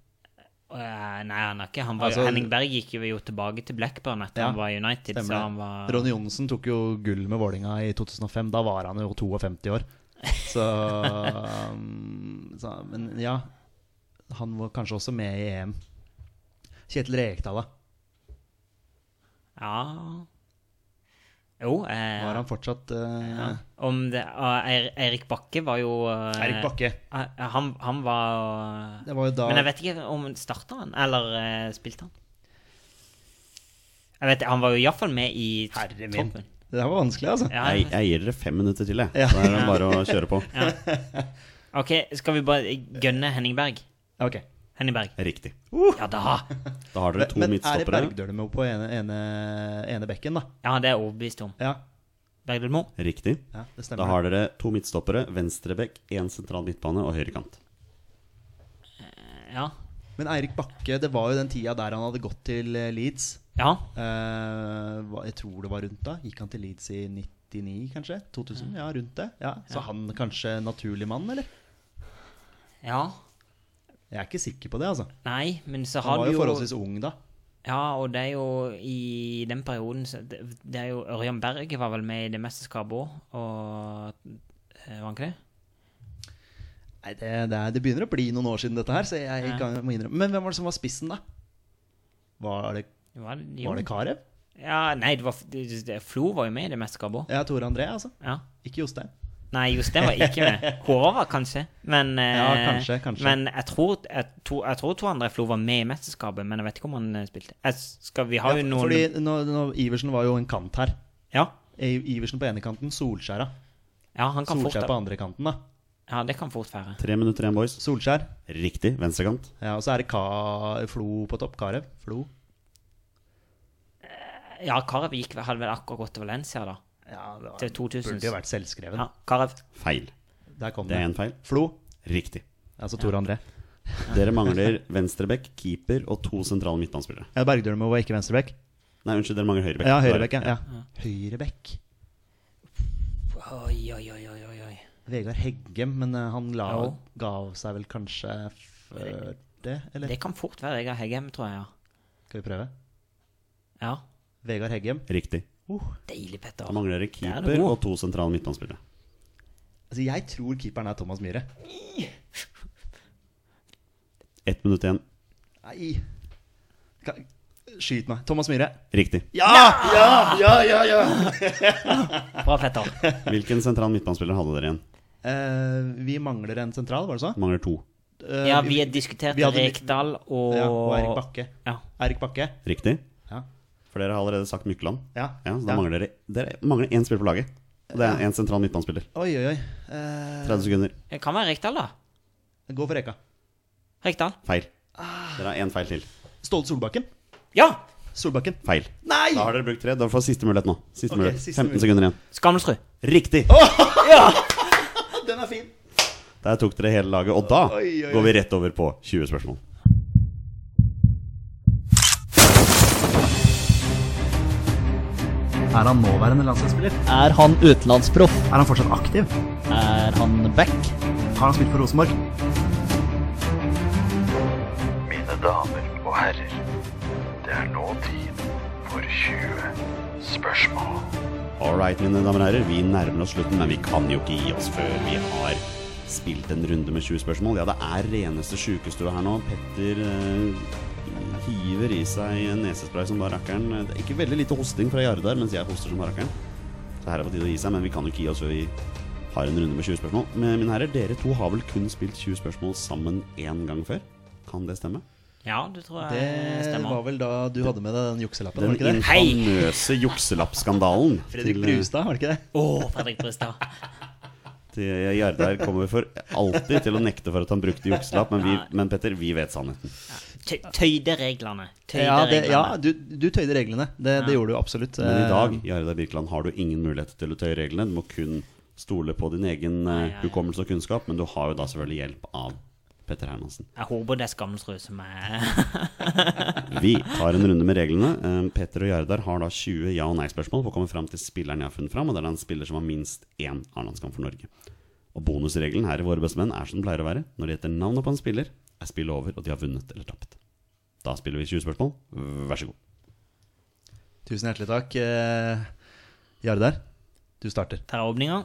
eh, nei, han er ikke. Han var,
Altså-
Henning Berg gikk jo- jo tilbake til Blackburn etter
Ja,
han var i United. Så han
Stemmer
var,
det. Ronny Johnsen tok jo gull med Vålinga i 2005. Da var han jo 52 år. Så, um, så Men ja, han var kanskje også med i EM. Kjetil Rekdal, da.
Ja Jo. Eh,
Var han fortsatt eh,
ja. Om det ah, Eir- Eirik Bakke var jo eh,
Eirik Bakke.
eh, Han, han var
Det var jo da
Men jeg vet ikke om starta han, eller eh, spilte han. Jeg vet, Han var jo iallfall med i
Herre min.
troppen.
Det her var vanskelig, altså.
Ja,
Jeg,
jeg vet.
jeg gir dere fem minutter til, jeg.
Ja.
Så er det bare å kjøre på.
OK, skal vi bare gønne Henning Berg?
Ok.
Henning Berg.
Riktig.
Uh!
Ja da!
Da har dere
Men,
to
men er det
midtstoppere.
Bergdølmo på ene, ene, ene bekken, da?
Ja, det er jeg overbevist om.
Ja,
Bergdølmo?
Riktig.
ja det
Da
stemmer.
har dere to midtstoppere, venstrebekk, én sentral midtbane og høyrekant.
Ja.
Men Eirik Bakke, det var jo den tida der han hadde gått til eh, Leeds.
Ja.
Eh, hva- jeg tror det var rundt da. Gikk han til Leeds i 99, kanskje? 2000? Ja, rundt det. Ja. Så han kanskje naturlig mann, eller?
ja.
Jeg er ikke sikker på det, altså.
Nei, men så har
Han var
du
jo
jo
forholdsvis ung da.
Ja, og det er jo i den perioden så det, det er jo Ørjan Berge var vel med i det mesterskapet òg, og eh, var han ikke det?
Nei, det, det, er, det begynner å bli noen år siden dette her, så jeg
Ja.
kan, må innrømme. Men hvem var det som var spissen, da? Var det,
Var, det- jo.
var det Karev?
Ja, nei, det var, det, det, Flo var jo med i det mesterskapet òg.
Ja, Tore André, altså.
Ja.
Ikke Jostein.
Nei, Jostein var ikke med. Kåre var kanskje, men eh,
Ja, kanskje, kanskje.
Men jeg tror, jeg, to, jeg tror to andre Flo var med i mesterskapet, men jeg vet ikke om han eh, spilte. Jeg, s- skal vi ha
Ja,
jo noen
Fordi nå, nå, Iversen var jo en kant her.
Ja,
I- Iversen på ene kanten, Solskjæra.
ja han kan fort
Solskjær på andre kanten, da.
Ja, det kan fort være.
Tre minutter igjen, boys.
Solskjær.
Riktig. Venstrekant.
Ja, og så er det Ka Flo på topp. Karev. Flo.
Ja, Karev gikk, hadde vel akkurat gått til Valencia, da.
Ja, det var,
Til 2000.
burde jo vært selvskreven.
Ja, Karev.
Feil.
Der kom
Det
det.
er en feil.
Flo,
Riktig.
altså Tor André.
Dere mangler venstrebekk, keeper og to sentrale midtbanespillere.
Ja, Bergdølmo var ikke venstrebekk.
Nei, unnskyld, dere mangler høyrebekk.
Ja, høyrebekk. Ja. Ja. Høyrebekk.
Oi, oi, oi, oi, oi, oi.
Vegard Heggem, men eh, han la,
Jo.
ga seg vel kanskje før det, eller?
Det kan fort være Vegard Heggem, tror jeg.
Skal vi prøve?
Ja. ja.
Vegard Heggem.
Riktig.
Deilig, Petter.
Da mangler dere
Det er
keeper
noe.
og to sentrale midtbanespillere.
Altså, jeg tror keeperen er Thomas Myhre.
Ett minutt igjen.
Nei Ka- Skyt meg. Thomas Myhre.
Riktig.
Ja! Ja, ja, ja! ja.
Bra, Petter.
Hvilken sentral midtbanespiller hadde dere igjen?
Eh, vi mangler en sentral, var det så?
Mangler to.
Eh,
Ja, vi har diskutert
vi hadde litt-
Rekdal og
ja, og Erik Bakke.
Ja.
Erik Bakke.
Riktig.
Ja.
For dere har allerede sagt Mykland.
Ja.
Ja, så da mangler dere Dere mangler én spiller på laget. Og det er én sentral midtbanespiller.
Oi, oi, oi. Eh,
30 sekunder.
Det kan være Rekdal, da.
gå for Reka.
Rekdal.
Feil. Dere har én feil til.
Ståle Solbakken.
Ja!
Solbakken.
Feil.
Nei!
Da har dere brukt tre. Dere får siste mulighet nå. Siste
Ok,
mulighet.
siste
15
mulighet.
sekunder igjen.
Skammelsrud.
Riktig!
Ja!
Den er fin.
Der tok dere hele laget. Og da går vi rett over på 20 spørsmål.
Er han nåværende landslagsspiller?
Er han utenlandsproff?
Er han fortsatt aktiv?
Er han back?
Har han spilt for Rosenborg?
Mine damer og herrer, det er nå tid for 20 spørsmål.
All right, mine damer og herrer, vi nærmer oss slutten, men vi kan jo ikke gi oss før vi har spilt en runde med 20 spørsmål. Ja, det er reneste sjukestua her nå. Petter eh, hiver i seg nesespray som bare rakkeren. Det er ikke veldig lite hosting fra Jardar, mens jeg hoster som bare rakkeren. Så her er det på tide å gi seg, men vi kan jo ikke gi oss før vi har en runde med 20 spørsmål. Men mine herrer, dere to har vel kun spilt 20 spørsmål sammen én gang før? Kan det stemme?
Ja, det tror jeg
Det var
stemmer.
vel da du hadde med deg den jukselappen?
Den
var det ikke det?
Hei!
infamøse jukselappskandalen.
Fredrik
til- eh,
Brustad, var det ikke det?
Å, Fredrik Brustad.
til- eh, Jardar kommer for alltid til å nekte for at han brukte jukselapp, men, vi, men Petter, vi vet sannheten.
Tøy- Tøyde reglene. Tøyde
Ja, det,
reglene.
ja du, du tøyde reglene. Det, det gjorde du absolutt.
Men i dag Jardar Birkeland, har du ingen mulighet til å tøye reglene. Du må kun stole på din egen eh, hukommelse og kunnskap, men du har jo da selvfølgelig hjelp av Petter Hermansen.
Jeg håper det er Skamsrud som er
Vi tar en runde med reglene. Eh, Petter og Jardar har da 20 ja- og nei-spørsmål på å komme fram til spilleren jeg har funnet fram, og det er da en spiller som har minst én A-landskamp for Norge. Og bonusregelen her i Våre beste menn er som den pleier å være. Når det heter navnet på en spiller, er spillet over, og de har vunnet eller tapt. Da spiller vi 20 spørsmål. Vær så god.
Tusen hjertelig takk. Eh, Jardar, du starter.
tar åpninga.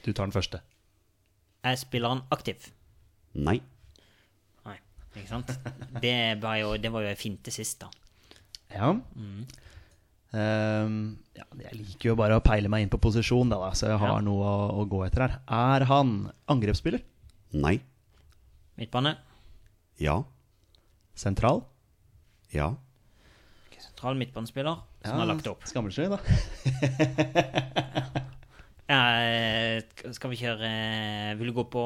Du tar den første.
Er spilleren aktiv?
Nei.
Nei, ikke sant? Det var jo, det var jo en finte sist, da.
Ja.
Mm.
Ehm, ja. Jeg liker jo bare å peile meg inn på posisjon, da, da så jeg har noe å, å gå etter her. Er han angrepsspiller?
Nei.
Midtbane.
Ja.
Sentral?
Ja.
Ok, Sentral midtbanespiller som har lagt opp.
Skammelsrud, da.
Eh, skal vi kjøre eh, Vil du gå på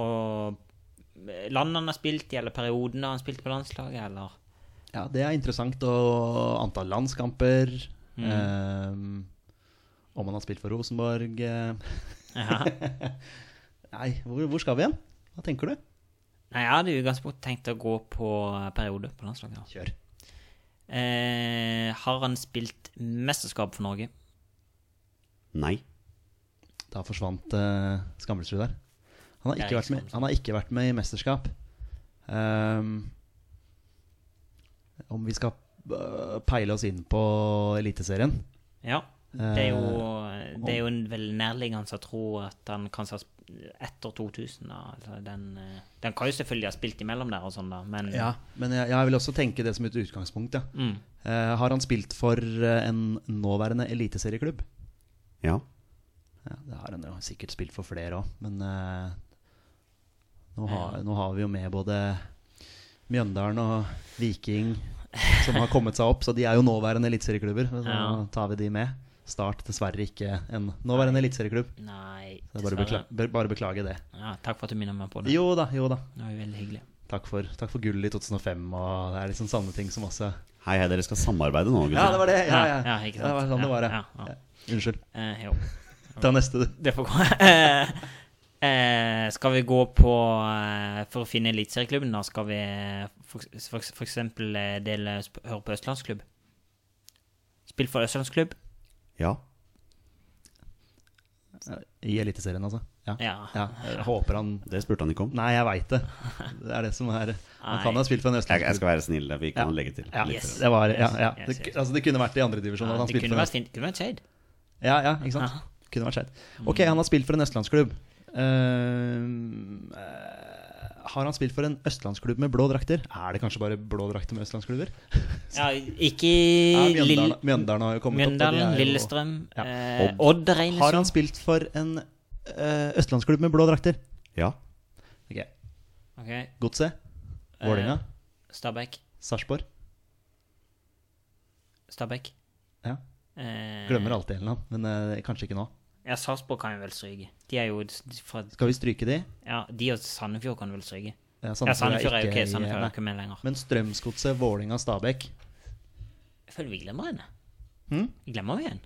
landet han har spilt i, eller perioden han spilte på landslaget, eller
Ja, det er interessant. Og antall landskamper.
Mm.
ehm, om han har spilt for Rosenborg. eh.
ja.
Nei, hvor, hvor skal vi hen? Hva tenker du?
Nei, jeg hadde i utgangspunktet tenkt å gå på periode på landslaget. da.
Kjør.
Eh, har han spilt mesterskap for Norge?
Nei.
Da forsvant uh, Skammelsrud der. Han har,
Det er
ikke
ikke
vært med,
Skammelsrud.
han har ikke vært med i mesterskap. Ehm, om vi skal øh, peile oss inn på Eliteserien
Ja. Det er jo,
Eh,
det er jo en veldig nærliggende å tro at han kanskje har sp- etter 2000. Da. Altså, den, eh, den kan jo selvfølgelig ha spilt imellom der og sånn, da, men
Ja, men jeg, jeg vil også tenke det som et utgangspunkt. Ja.
Mm.
Eh, har han spilt for eh, en nåværende eliteserieklubb?
Ja.
Ja, det har han jo sikkert spilt for flere òg, men eh, nå, har, nå har vi jo med både Mjøndalen og Viking som har kommet seg opp, så de er jo nåværende eliteserieklubber. Så
Ja.
tar vi de med. Start dessverre ikke en nåværende eliteserieklubb.
Nei,
Så det er Bare, bekla be- bare beklage det.
Ja, takk for at du minner meg på det.
Jo da, jo da.
Det var jo veldig hyggelig.
Takk for, takk for gullet i 2005, og det er liksom sanne ting som også
Hei, hei, dere skal samarbeide nå,
Ja, det
gutter.
var det! Ja, ja.
Ja, ja, ikke sant.
Det var sånn det var,
Ja,
ja.
ja, ja.
Ja. Unnskyld.
Eh, jo,
Ta neste, du.
det får gå. Eh, eh, skal vi gå på eh, For å finne eliteserieklubben, da, skal vi eh, for, for, for eksempel eh, dele, sp- høre på Østlandsklubb? Spill for Østlandsklubb?
Ja.
I Eliteserien, altså? Ja.
Ja.
Jeg håper han
Det spurte han ikke om.
Nei, jeg veit det. Det er det som er Han kan ha spilt for en
Jeg, jeg
østlandsklubb.
skal være snill, vi kan legge til.
Ja,
litt.
Yes.
det, var, ja, ja.
Yes,
Det,
yes, yes.
altså, det kunne vært i andredivisjon.
Ja,
Ja,
det kunne vært fint. Det kunne vært Mm. shade.
ja, ja, ikke sant?
Ja.
Kunne vært skjedd. Ok, han har spilt for en østlandsklubb. Ehm, eh, har han spilt for en østlandsklubb med blå drakter? Er det kanskje bare blå drakter med østlandsklubber?
Ja, ikke
Ja,
Lill-
Mjøndalen, Mjøndalen har jo kommet opp.
Mjøndalen,
og de er jo-
Lillestrøm,
Ja.
eh, Odd regnes
Har
som.
han spilt for en eh, østlandsklubb med blå drakter?
Ja.
Ok,
Ok,
Godset?
Eh,
Vålerenga?
Stabæk.
Sarpsborg?
Stabæk.
Ja.
Eh,
Glemmer alltid en eller annen, men eh, kanskje ikke nå.
Ja, Sarpsborg kan jo vel stryke. De er jo s- fra
Skal vi stryke de?
Ja, de og Sandefjord kan vel stryke.
Ja,
Ja, Sandefjord er jo
sånn ikke
ok,
i-
Sandefjord er
nei.
ikke med lenger.
Men Strømsgodset, Vålinga, Stabæk
Jeg føler vi glemmer henne.
Hm?
Glemmer vi henne?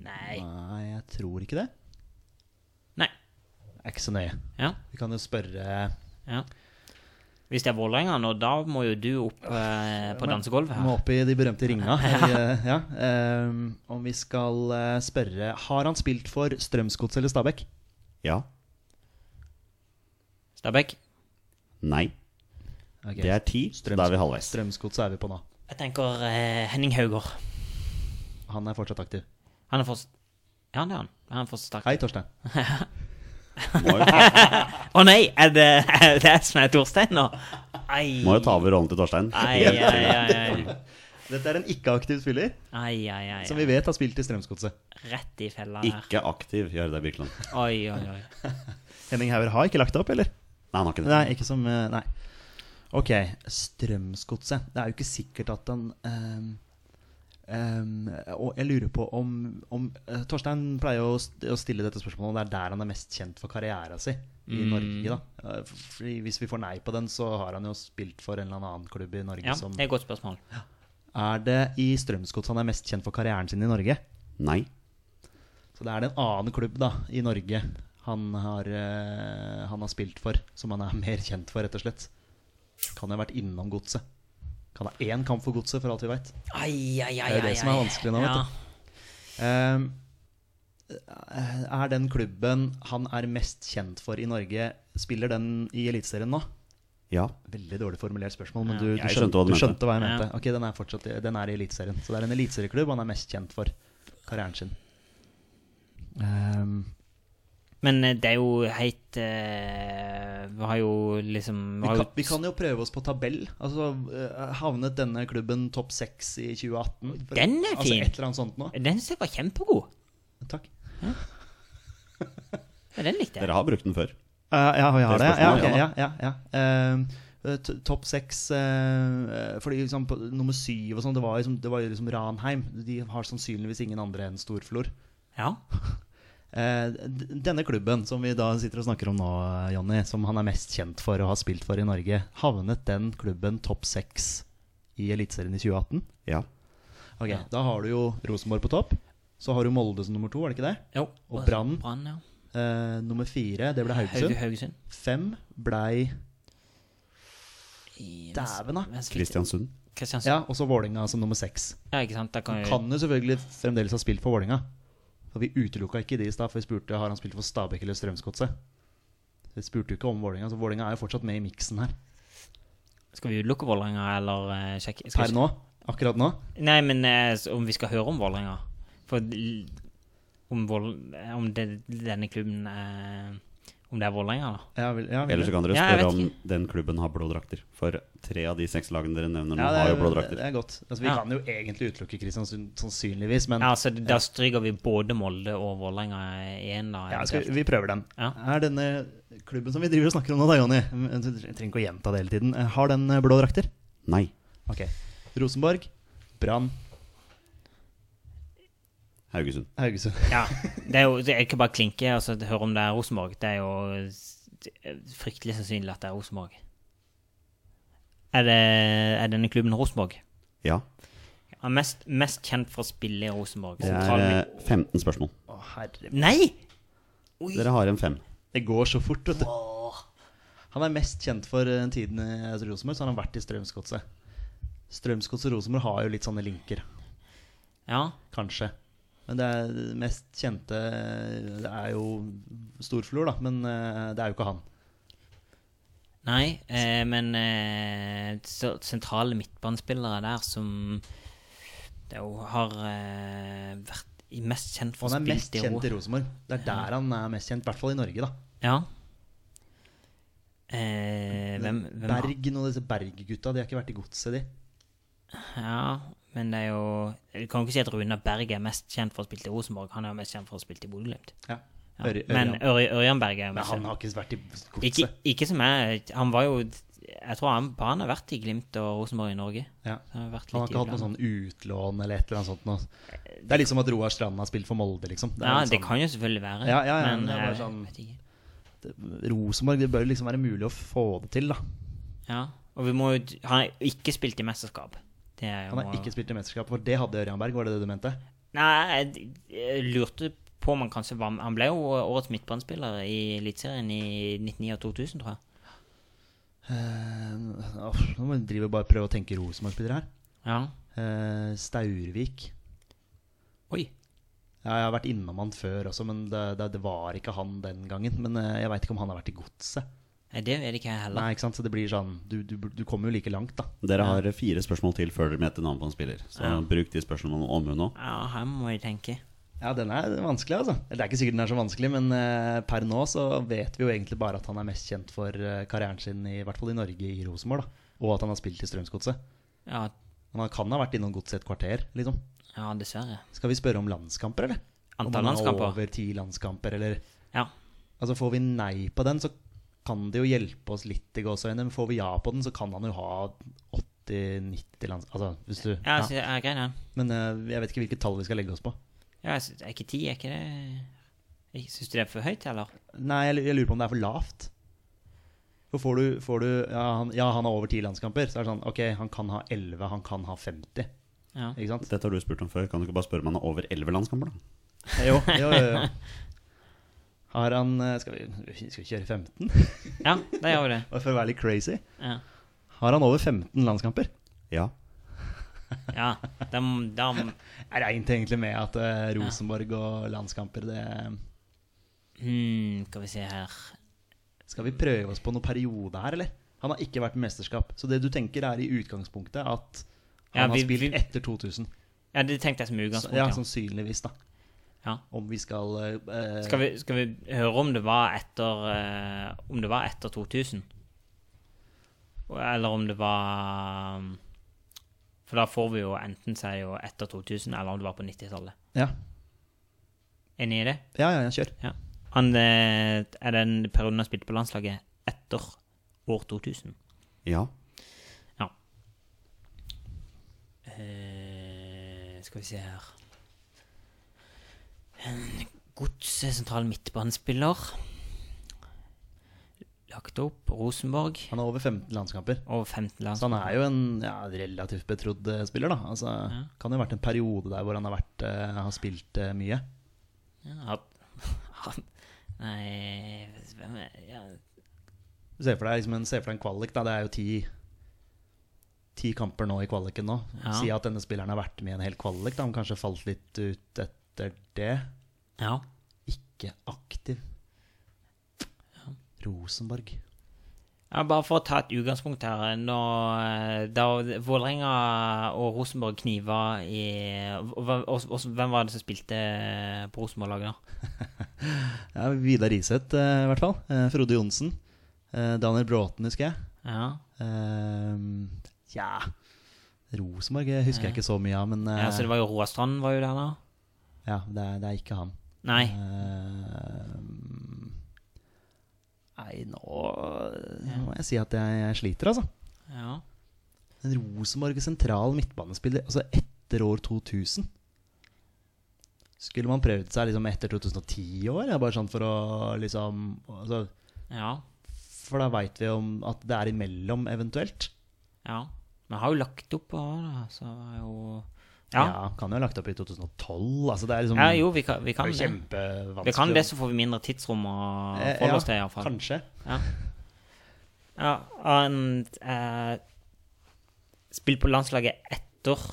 Nei.
Nei, jeg tror ikke det.
Nei.
er ikke så nøye.
Ja,
Vi kan jo spørre
ja. Hvis det er Vålerenga nå, da må jo du opp eh, på dansegulvet
Må
her.
opp i de berømte ringa. I, eh, ja. ehm, om vi skal eh, spørre Har han spilt for Strømsgods eller Stabæk?
Ja.
Stabæk.
Nei.
Ok.
Det er ti. så Da er vi halvveis.
Strømsgods er vi på nå.
Jeg tenker eh, Henning Haugård.
Han er fortsatt aktiv.
Han er fortsatt Ja, det er han. Han er fortsatt
Hei,
sterk.
Torstein.
Må jo,
Å nei, er det er det jeg som er Torstein nå? Ai.
må jo ta over rollen til Torstein.
Ai, ai, ai, ai.
Dette er en ikke-aktiv spiller
ai, ai, ai.
som vi vet har spilt i Strømsgodset.
Rett i fella der.
Ikke aktiv, Jardar Birkeland.
Oi, oi, oi.
Henning Hauger har ikke lagt det opp, eller?
Nei, han har ikke det.
Nei, ikke som eh, Nei. Ok, Strømsgodset. Det er jo ikke sikkert at han ehm, ehm, Og jeg lurer på om, om eh, Torstein pleier å, st å stille dette spørsmålet, og det er der han er mest kjent for karriera si i Norge. da Eh, Fordi Hvis vi får nei på den, så har han jo spilt for en eller annen klubb i Norge
Ja,
som
det er et godt spørsmål.
Er det i Strømsgodset han er mest kjent for karrieren sin i Norge?
Nei.
Så det er det en annen klubb da, i Norge han har, eh, han har spilt for, som han er mer kjent for, rett og slett. Kan jo ha vært innom godset. Kan ha én kamp for godset, for alt vi veit.
Ai, ai, ai,
Det er det
ai,
som er
ai.
vanskelig nå, vet
Ja.
Ehm, Eh, er den klubben han er mest kjent for i Norge, spiller den i Eliteserien nå?
Ja.
Veldig dårlig formulert spørsmål, men du, du,
Jeg
skjønte,
skjønte hva du
du
mente.
skjønte hva jeg
Ja.
mente. Ok, den er, fortsatt, i- den er i Eliteserien. Så det er en eliteserieklubb han er mest kjent for karrieren sin. Ehm,
Men eh, det er jo heit eh, Vi har jo liksom
Vi
har jo-
kan, vi kan jo prøve oss på tabell. Altså, eh, Havnet denne klubben topp seks i 2018? For-
Den er fin.
Altså et eller annet sånt nå.
Den synes jeg var kjempegod.
Takk.
Ja, den likte jeg.
Dere har brukt den før.
ja, jeg har
Det
det. Ja,
er spørsmålet,
ok, ja, ja, ja. Eh, t- topp seks eh, eh, Fordi liksom, på, nummer syv og sånn, det var liksom- det var jo liksom Ranheim. De har sannsynligvis ingen andre enn Storflor.
Ja.
Eh, d- denne klubben som vi da sitter og snakker om nå, Jonny, som han er mest kjent for og har spilt for i Norge, havnet den klubben topp seks i Eliteserien i 2018?
Ja.
Ok, Da har du jo Rosenborg på topp. Så har du Molde som nummer to, er det ikke det?
Jo.
Og Brann.
Brann, ja.
Eh, nummer fire, det ble
Haug-
Haugesund.
Haugesund.
Fem blei
I-
Dæven, da.
hvem som fikk det?
Kristiansund.
Kristiansund.
Ja, og så Vålinga som nummer seks.
Ja, ikke sant. Da kan vi
Kan jo selvfølgelig fremdeles ha spilt for Vålinga. For vi utelukka ikke de i stad, for vi spurte har han spilt for Stabæk eller Strømsgodset. Vi spurte jo ikke om Vålinga, så Vålinga er jo fortsatt med i miksen her.
Skal vi utelukke Vålerenga, eller eh, sjekke skal
Per
vi-
nå. Akkurat nå.
Nei, men eh, s- om vi skal høre om Vålerenga For l- om, Vål- eh, om det, denne klubben eh, Om det er Vålerenga, da.
Ja, vil, ja, vil
Eller så
du?
kan dere
Ja, jeg
spørre
vet
om
ikke.
den klubben har blå drakter. For tre av de seks lagene dere nevner nå,
Ja, det,
har jo blå
er,
drakter.
det er godt. Altså, vi
Ja.
kan jo egentlig utelukke Kristiansund sannsynligvis, men
Ja, så da stryker vi både Molde og Vålerenga igjen, da.
Ja, skal,
eventuelt.
vi- vi prøver den.
Ja.
Er denne klubben som vi driver og snakker om nå, da, Jonny men Du trenger ikke å gjenta det hele tiden. eh, Har den eh, blå drakter?
Nei.
Ok. Rosenborg, Brann,
Haugesund.
Haugesund.
Ja, det er jo det er ikke bare klinke og så høre om det er Rosenborg. Det er jo s- fryktelig sannsynlig at det er Rosenborg. Er, det, er denne klubben Rosenborg?
Ja.
Han er mest, mest kjent for å spille i Rosenborg.
Det er
Sentral-
eh, 15 spørsmål.
Å, herre
Nei!
Dere har en fem.
Det går så fort, vet du. Han er mest kjent for eh, tiden i Rosenborg, så han har vært i Strømsgodset. Strømsgodset og Rosenborg har jo litt sånne linker,
Ja,
kanskje. Men det er det mest kjente eh, Det er jo Storflor, da, men eh, det er jo ikke han.
nei, eh, men eh, så, sentrale midtbanespillere der som det er jo har eh, vært i- mest kjent for å
Han er mest
spille i
kjent i
Rosenborg.
Rosenborg. Det er der han er mest kjent, i hvert fall i Norge, da.
Ja. Eh, hvem, hvem
Bergen og disse Berg-gutta, de har ikke vært i godset, de.
Ja, men det er jo Du kan jo ikke si at Rune Berg er mest kjent for å spille til Rosenborg. Han er jo mest kjent for å spille til Bodø-Glimt.
Ja.
Ja.
Ør-
Men
Ørjan.
Ør Ørjan Berg er jo
Men
mest
han
kjent.
har ikke vært i
Ikke,
godset.
ikke som jeg Han var jo Jeg tror han, han har vært i Glimt og Rosenborg i Norge.
Ja.
Han har vært
Han har
litt
ikke
iblant.
hatt noe sånn utlån eller et eller annet sånt noe. Det er litt som at Roar Strand har spilt for Molde, liksom. Det er
Ja,
litt
det
sånn-
kan jo selvfølgelig være.
Ja, ja, ja,
men eh,
det er bare
jeg
sånn-
vet ikke.
Rosenborg, det bør liksom være mulig å få det til, da.
Ja, og vi må jo Han har ikke spilt i mesterskap. Det er jo
Han har ikke spilt i mesterskap, for det hadde Ørjan Berg, var det det du mente?
Nei, jeg, jeg lurte på om han kanskje var med. Han ble jo årets midtbanespiller i Eliteserien i 1999 og 2000, tror jeg.
Eh, åh, nå må jeg drive og bare prøve å tenke Rosenborg-spillere her.
Ja.
Eh, Staurvik.
Oi.
Ja, jeg har vært innom han før også, men det, det, det var ikke han den gangen. Men eh, jeg veit ikke om han har vært i godset.
Nei, det er det ikke jeg heller.
Nei, ikke sant? Så det blir sånn Du, du, du kommer jo like langt, da.
Dere har fire spørsmål til før dere møter navnet på en spiller. Så
Ja.
bruk de spørsmålene med omhu nå.
Ja, her må jeg tenke.
Ja, den er vanskelig, altså. Eller Det er ikke sikkert den er så vanskelig, men eh, per nå så vet vi jo egentlig bare at han er mest kjent for eh, karrieren sin, i, i hvert fall i Norge, i Rosenborg, da. Og at han har spilt i Strømsgodset.
Ja,
Men han kan ha vært innom godset et kvarter, liksom.
ja dessverre.
Skal vi spørre om landskamper, eller? Om
Antall
han er
landskamper.
Over ti landskamper, eller
Ja.
Altså, får vi nei på den, så kan det jo hjelpe oss litt i gåseøynene. Men får vi ja på den, så kan han jo ha 80-90 lands... Altså, hvis du
Ja,
ja.
så, ja greit, den.
Men eh, jeg vet ikke hvilket tall vi skal legge oss på.
Ja, jeg synes, er ikke ti, er ikke det Syns du det er for høyt, eller?
Nei, jeg, jeg lurer på om det er for lavt. For får du, får du ja, han, ja, han har over ti landskamper. Så er det sånn OK, han kan ha 11, han kan ha 50.
Ja.
Ikke sant?
Dette har du spurt om før. Kan du ikke bare spørre om han har over elleve landskamper, da?
Jo, jo, jo. jo. Har han eh, Skal vi, skal vi kjøre 15?
Ja, det gjør vi det.
Bare for å være litt crazy.
Ja.
Har han over 15 landskamper?
Ja.
ja da, må- da, må-
Jeg regnet egentlig med at eh, Rosenborg og landskamper det
hmm, Skal vi se her
Skal vi prøve oss på noen periode her, eller? Han har ikke vært med mesterskap. Så det du tenker, er i utgangspunktet at
Ja,
han
vi-
har spilt
vi-
etter 2000.
Ja, det tenkte jeg som
Så, ja,
utgangspunkt.
sannsynligvis, da.
Ja.
Om vi skal eh,
Ja. Skal, vi, skal vi høre om det var etter eh, Om det var etter 2000? Og- Eller om det var um, For da får vi jo enten si jo etter 2000, eller om det var på 90-tallet.
ja.
Enig i det?
ja, ja, ja, kjør.
Ja. Han, eh, er den perioden han spilte på landslaget etter år 2000?
Ja.
Ja. Eh, skal vi se her En Godset sentral midtbanespiller. Lagt opp Rosenborg.
Han Sånn. har over 15 landskamper.
Over 15
Så han
landskamper.
er jo en ja, relativt betrodd eh, spiller, da. Altså, Kan jo ha vært en periode der hvor han har, vært, eh, har spilt eh, mye.
Ja, han- Nei Hvem er ja.
Se for deg, liksom en, se for deg en kvalik, da. Det er jo ti, ti kamper nå i kvaliken nå.
Ja.
Si at denne spilleren har vært med i en hel kvalik, da. Han kanskje falt litt ut etter det.
ja.
Ikke aktiv. Rosenborg.
Ja, bare for å ta et utgangspunkt her. Når, eh, da Vålerenga og Rosenborg kniva i hva- og, og, Hvem var det som spilte på Rosenborg-laget, da?
Ja, Vidar Iseth, eh, i hvert fall. Eh, Frode Johnsen. Eh, Daniel Bråten, husker jeg.
Ja.
Ehm, ja Rosenborg eh, husker jeg ikke så mye av, men eh,
Ja, så det var jo Roar Strand var jo der da.
ja, det, er, det er ikke han.
Nei.
Ehm, nei, nå nå må jeg si at jeg, jeg sliter, altså.
Ja.
En Rosenborg sentral midtbanespiller altså etter år 2000. Skulle man prøvd seg liksom etter 2010-år? Bare sånn for å liksom altså,
Ja.
For da veit vi om at det er imellom, eventuelt.
Ja. Men har jo lagt opp på da, så er jo Ja.
Kan jo ha lagt opp i 2012. Altså, det er liksom
ja jo, vi kan, vi kan
det er jo
det.
kjempevanskelig.
Vi kan det,
å-
så får vi mindre tidsrom å
Eh,
forholde
ja,
oss til, iallfall.
Kanskje.
Ja. ja han eh, spilte på landslaget etter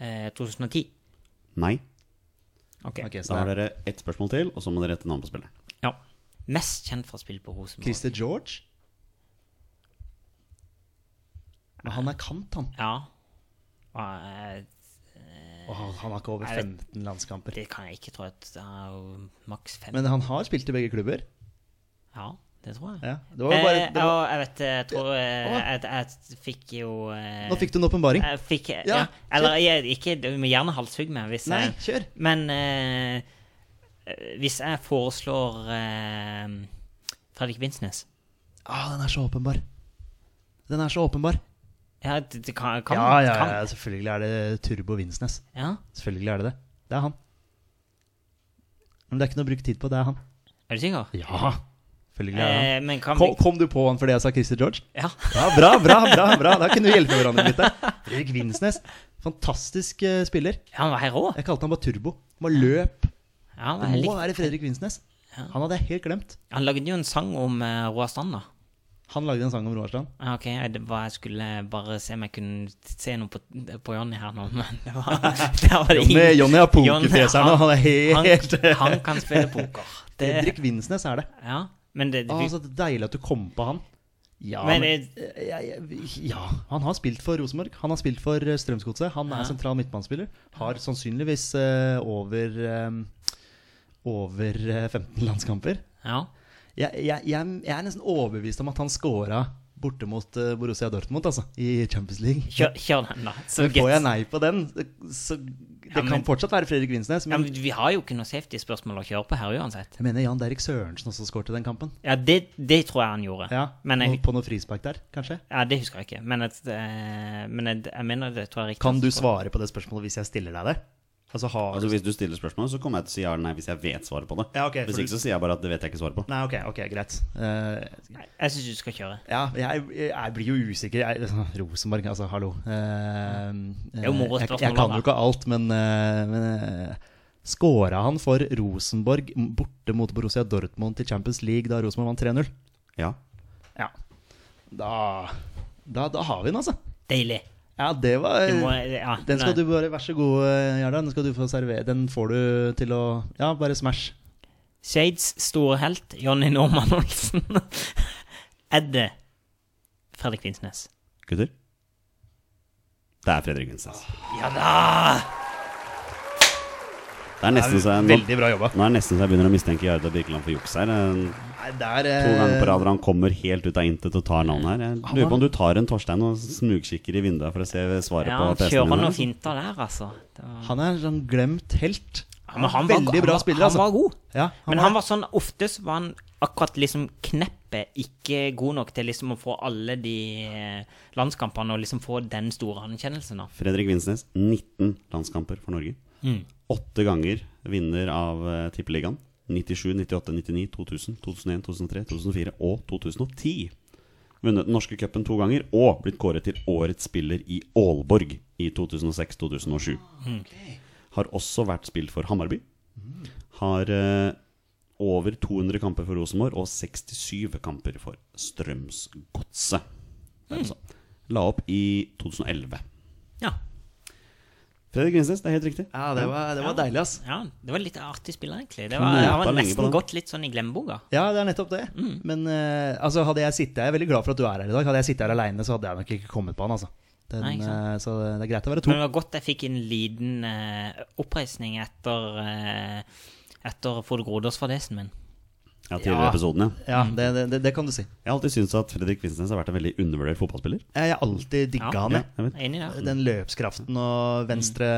eh, 2010.
Nei.
OK.
Ok, så
Da har
det er
dere ett spørsmål til, og så må dere rette navn på spilleren.
Ja. Mest kjent for å spille på Rosenborg.
Christer George. Men han er kant, han.
Ja. Eh,
Og han, han har ikke over
Jeg vet-
15 landskamper.
det kan jeg ikke tro at det er jo maks fem.
Men han har spilt i begge klubber.
Ja, det tror jeg.
Ja, det var jo bare,
eh,
det var,
ja, jeg vet Jeg tror eh,
Åh.
jeg, jeg fikk jo eh,
nå fikk du en åpenbaring.
Jeg fikk, ja,
Ja,
Eller jeg, ikke Du må gjerne halshugge meg hvis
Nei,
jeg
kjør.
Men eh, eh, hvis jeg foreslår eh, Fredrik Vinsnes
Ah, den er så åpenbar. Den er så åpenbar.
Ja, det, det kan, kan
ja, ja,
kan-
ja, selvfølgelig er det Turbo Vinsnes.
ja.
Selvfølgelig er det det. Det er han. Men det er ikke noe å bruke tid på. Det er han.
Er du sikker?
Ja, selvfølgelig er det han.
Eh, men kan
Kom,
vi
kom du på han fordi jeg sa Christer George?
Ja.
Ja, bra, bra, bra. bra. Da kunne vi hjelpe hverandre litt der. Fredrik Vinsnes. Fantastisk eh, spiller.
Han var helt rå.
Jeg kalte han bare Turbo. Han bare løp
Ja,
Det
jeg
må
likte-
være Fredrik Vinsnes.
Ja.
Han hadde jeg helt glemt.
Han lagde jo en sang om eh, Roar Strand, da.
Han lagde en sang om Roar Strand.
Ja, Ok, jeg, det var, jeg skulle bare se om jeg kunne se noe på, på Jonny her nå, men det var, det var det
Jonny,
ingen-
Jonny har
Jonny,
pokerfjes her nå. Han er helt
han, han kan spille poker. Det,
Fredrik Vinsnes er det.
ja, men det,
Å, så deilig at du kom på han. Ja,
Men eh,
men- ja, ja, ja, han har spilt for Rosenborg. Han har spilt for eh, Strømsgodset. Han er sentral midtbanespiller. Har sannsynligvis eh, over eh, over eh, 15 landskamper.
ja,
Jeg, jeg, jeg, jeg er nesten overbevist om at han scora borte mot eh, Borussia Dortmund altså, i Champions League.
kjør, kjør den, da. Så
Men får jeg
gitt.
nei på den, så det
Ja, men-
kan fortsatt være Fredrik Vinsnes.
Ja,
Men
men vi har jo ikke noe safety-spørsmål å kjøre på her uansett.
jeg mener Jan Derek Sørensen også skårte den kampen.
Ja, det, det tror jeg han gjorde.
Ja,
men jeg,
på- På noe frispark der, kanskje?
ja det husker jeg ikke. Men, at, eh, men jeg, jeg mener det tror jeg er riktig.
Kan du svare på det spørsmålet hvis jeg stiller deg det? Altså, har
Altså Hvis du stiller spørsmål, så kommer jeg til å si ja eller nei hvis jeg vet svaret på det.
Ja, ok, for
hvis
du-
ikke, så sier jeg bare at det vet jeg ikke svaret på.
Nei, ok, ok, greit. Eh,
Jeg, jeg syns du skal kjøre.
ja, jeg, jeg blir jo usikker. Jeg, Rosenborg, altså, hallo. Eh,
er jo moro
jeg,
spørsmål,
jeg kan
da.
jo ikke alt, men, eh, men eh, Skåra han for Rosenborg borte mot Borussia Dortmund til Champions League da Rosenborg vant 3-0?
Ja.
Ja. Da, da, da har vi den, altså.
Deilig.
Ja, det var
Du må, ja,
Eh, Den skal
nei.
du bare Vær så god, Gjerda. Den skal du få servere. Den får du til å Ja, bare smash.
Shades store helt, Jonny Normann Olsen. Er det Fredrik Vinsnes?
Gutter? Det er Fredrik Vinsnes.
Ja da!
Det er nesten så jeg, nå,
Veldig bra jobba.
nå er det nesten så jeg begynner å mistenke Jarda Birkeland for juks her. En-
Nei, der
To ganger på rad hvor han kommer helt ut av intet og tar navnet her. Jeg lurer på om du tar en Torstein og smugkikker i vinduet for å se svaret
Ja,
på
han
PC-en
kjører
din.
noen
her.
finter der, altså. Det var-
Han er en sånn glemt helt.
Ja, men han var-
Veldig bra
han var-
spiller, altså.
Han var god.
Ja, han
men
var
han var sånn ofte så var han akkurat liksom kneppet ikke god nok til liksom å få alle de eh, landskampene og liksom få den store anerkjennelsen. da.
Fredrik Vinsnes, 19 landskamper for Norge. Åtte ganger vinner av eh, Tippeligaen. 97, 98, 99, 2000, 2001, 2003, 2004 og 2010. Vunnet den norske cupen to ganger og blitt kåret til årets spiller i Aalborg i 2006-2007. Har også vært spilt for Hammarby. Har eh, over 200 kamper for Rosenborg og 67 kamper for Strømsgodset. Det er altså. La opp i 2011.
Ja.
Fredrik Vinsnes, det er helt riktig.
Ja, det var, det var deilig, ass.
ja, det var litt artig spiller, egentlig. Det var,
Knota
han var
lenge på
nesten
den.
gått litt sånn i glemmeboka.
Ja, det er nettopp det.
Mm.
Men eh, altså, hadde jeg sittet Jeg er veldig glad for at du er her i dag. Hadde jeg sittet her aleine, så hadde jeg nok ikke kommet på han, altså. Den,
Nei, ikke sant.
eh, så det er greit å være to.
Men det var godt jeg fikk en liten eh, oppreisning etter uh, Etter Frode Grodås-fadesen min.
Ja, tidligere
Ja.
episoden, ja.
Ja, det, det, det, det kan du si.
Jeg har alltid syntes at Fredrik Vinsnes har vært en veldig undervurdert fotballspiller.
Jeg har alltid digga
Ja.
han, jeg.
Jeg vet.
Jeg er Enig der.
Den løpskraften og venstre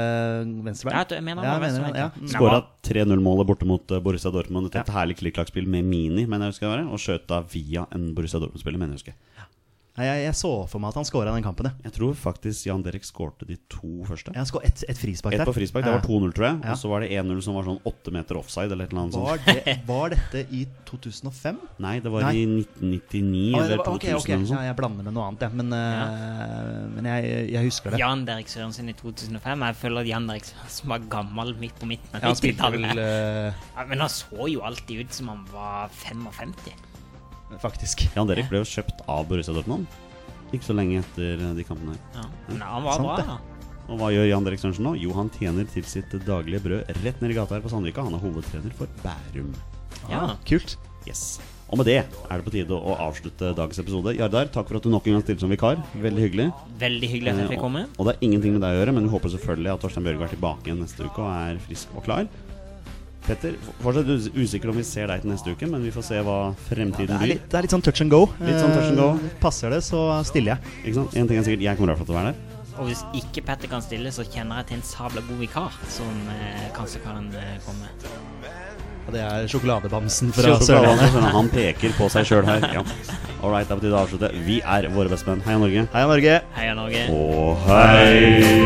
venstrebein.
Ja, jeg mener han
Ja,
var
jeg mener
venstrebein,
det, ja.
ja.
Mm.
Skåra 3-0-målet borte mot eh, Borussia Dortmund etter et herlig klikk-klakk-spill med Mini, men jeg husker det var, og skjøt da via en Borussia Dortmund-spiller, mener jeg husker.
Nei, Jeg, jeg så for meg at han skåra den kampen, jeg.
Jeg tror faktisk Jan Derek skårte de to første.
Jeg skår et, et frispark der.
Ett på frispark, det
Ja.
var 2-0, tror jeg.
Ja.
Og så var det 1-0 som var sånn åtte meter offside, eller et eller annet sånt.
Var, det, var dette i 2005?
Nei, det var
Nei.
i 1999
Ah, det
eller
var-
2000
ok, ok.
eller noe
Ja,
sånt.
jeg blander med noe annet, jeg. Men, eh, men jeg, jeg husker det.
Jan Derek Sørensen i 2005. Jeg føler at Jan Derek Sørensen var gammel midt på midten av
Ja, han spilte
90-tallet.
vel eh,
Ja, men han så jo alltid ut som han var 55.
eh, Faktisk.
Jan Derek ble jo kjøpt av Borussia Dortmund ikke så lenge etter eh, de kampene her.
Ja. Men han var
Sant
bra,
det.
da.
Og hva gjør Jan Derek Sørensen nå? Jo, han tjener til sitt daglige brød rett ned i gata her på Sandvika. Han er hovedtrener for Bærum.
Ja.
Ah, Kult.
Yes. Og med det er det på tide å avslutte dagens episode. Jardar, takk for at du nok en gang stilte som vikar. Veldig hyggelig. Eh,
Veldig hyggelig at jeg fikk komme.
Og det er ingenting med deg å gjøre, men vi håper selvfølgelig at Torstein Bjørge er tilbake igjen neste uke og er frisk og klar. Petter, f- fortsatt us- usikker om vi ser deg til neste uke, men vi får se hva
Det
fremtiden
er,
byr.
litt, det er litt sånn touch and go.
Litt sånn touch and go.
Eh, passer det, så stiller jeg.
Ikke sant? En ting er sikkert, jeg kommer i hvert fall til å være der.
Og hvis ikke Petter kan stille, så kjenner jeg til en sabla god vikar som eh, kanskje kan eh, komme.
Og det er sjokoladebamsen fra
Kjøper planen,
Sørlandet.
så skjønner jeg. Han peker på seg sjøl her. Ja. All right, det er på tide å avslutte. Vi er våre bestemenn. Heia Norge.
Heia Norge.
Heia Norge.
Og hei!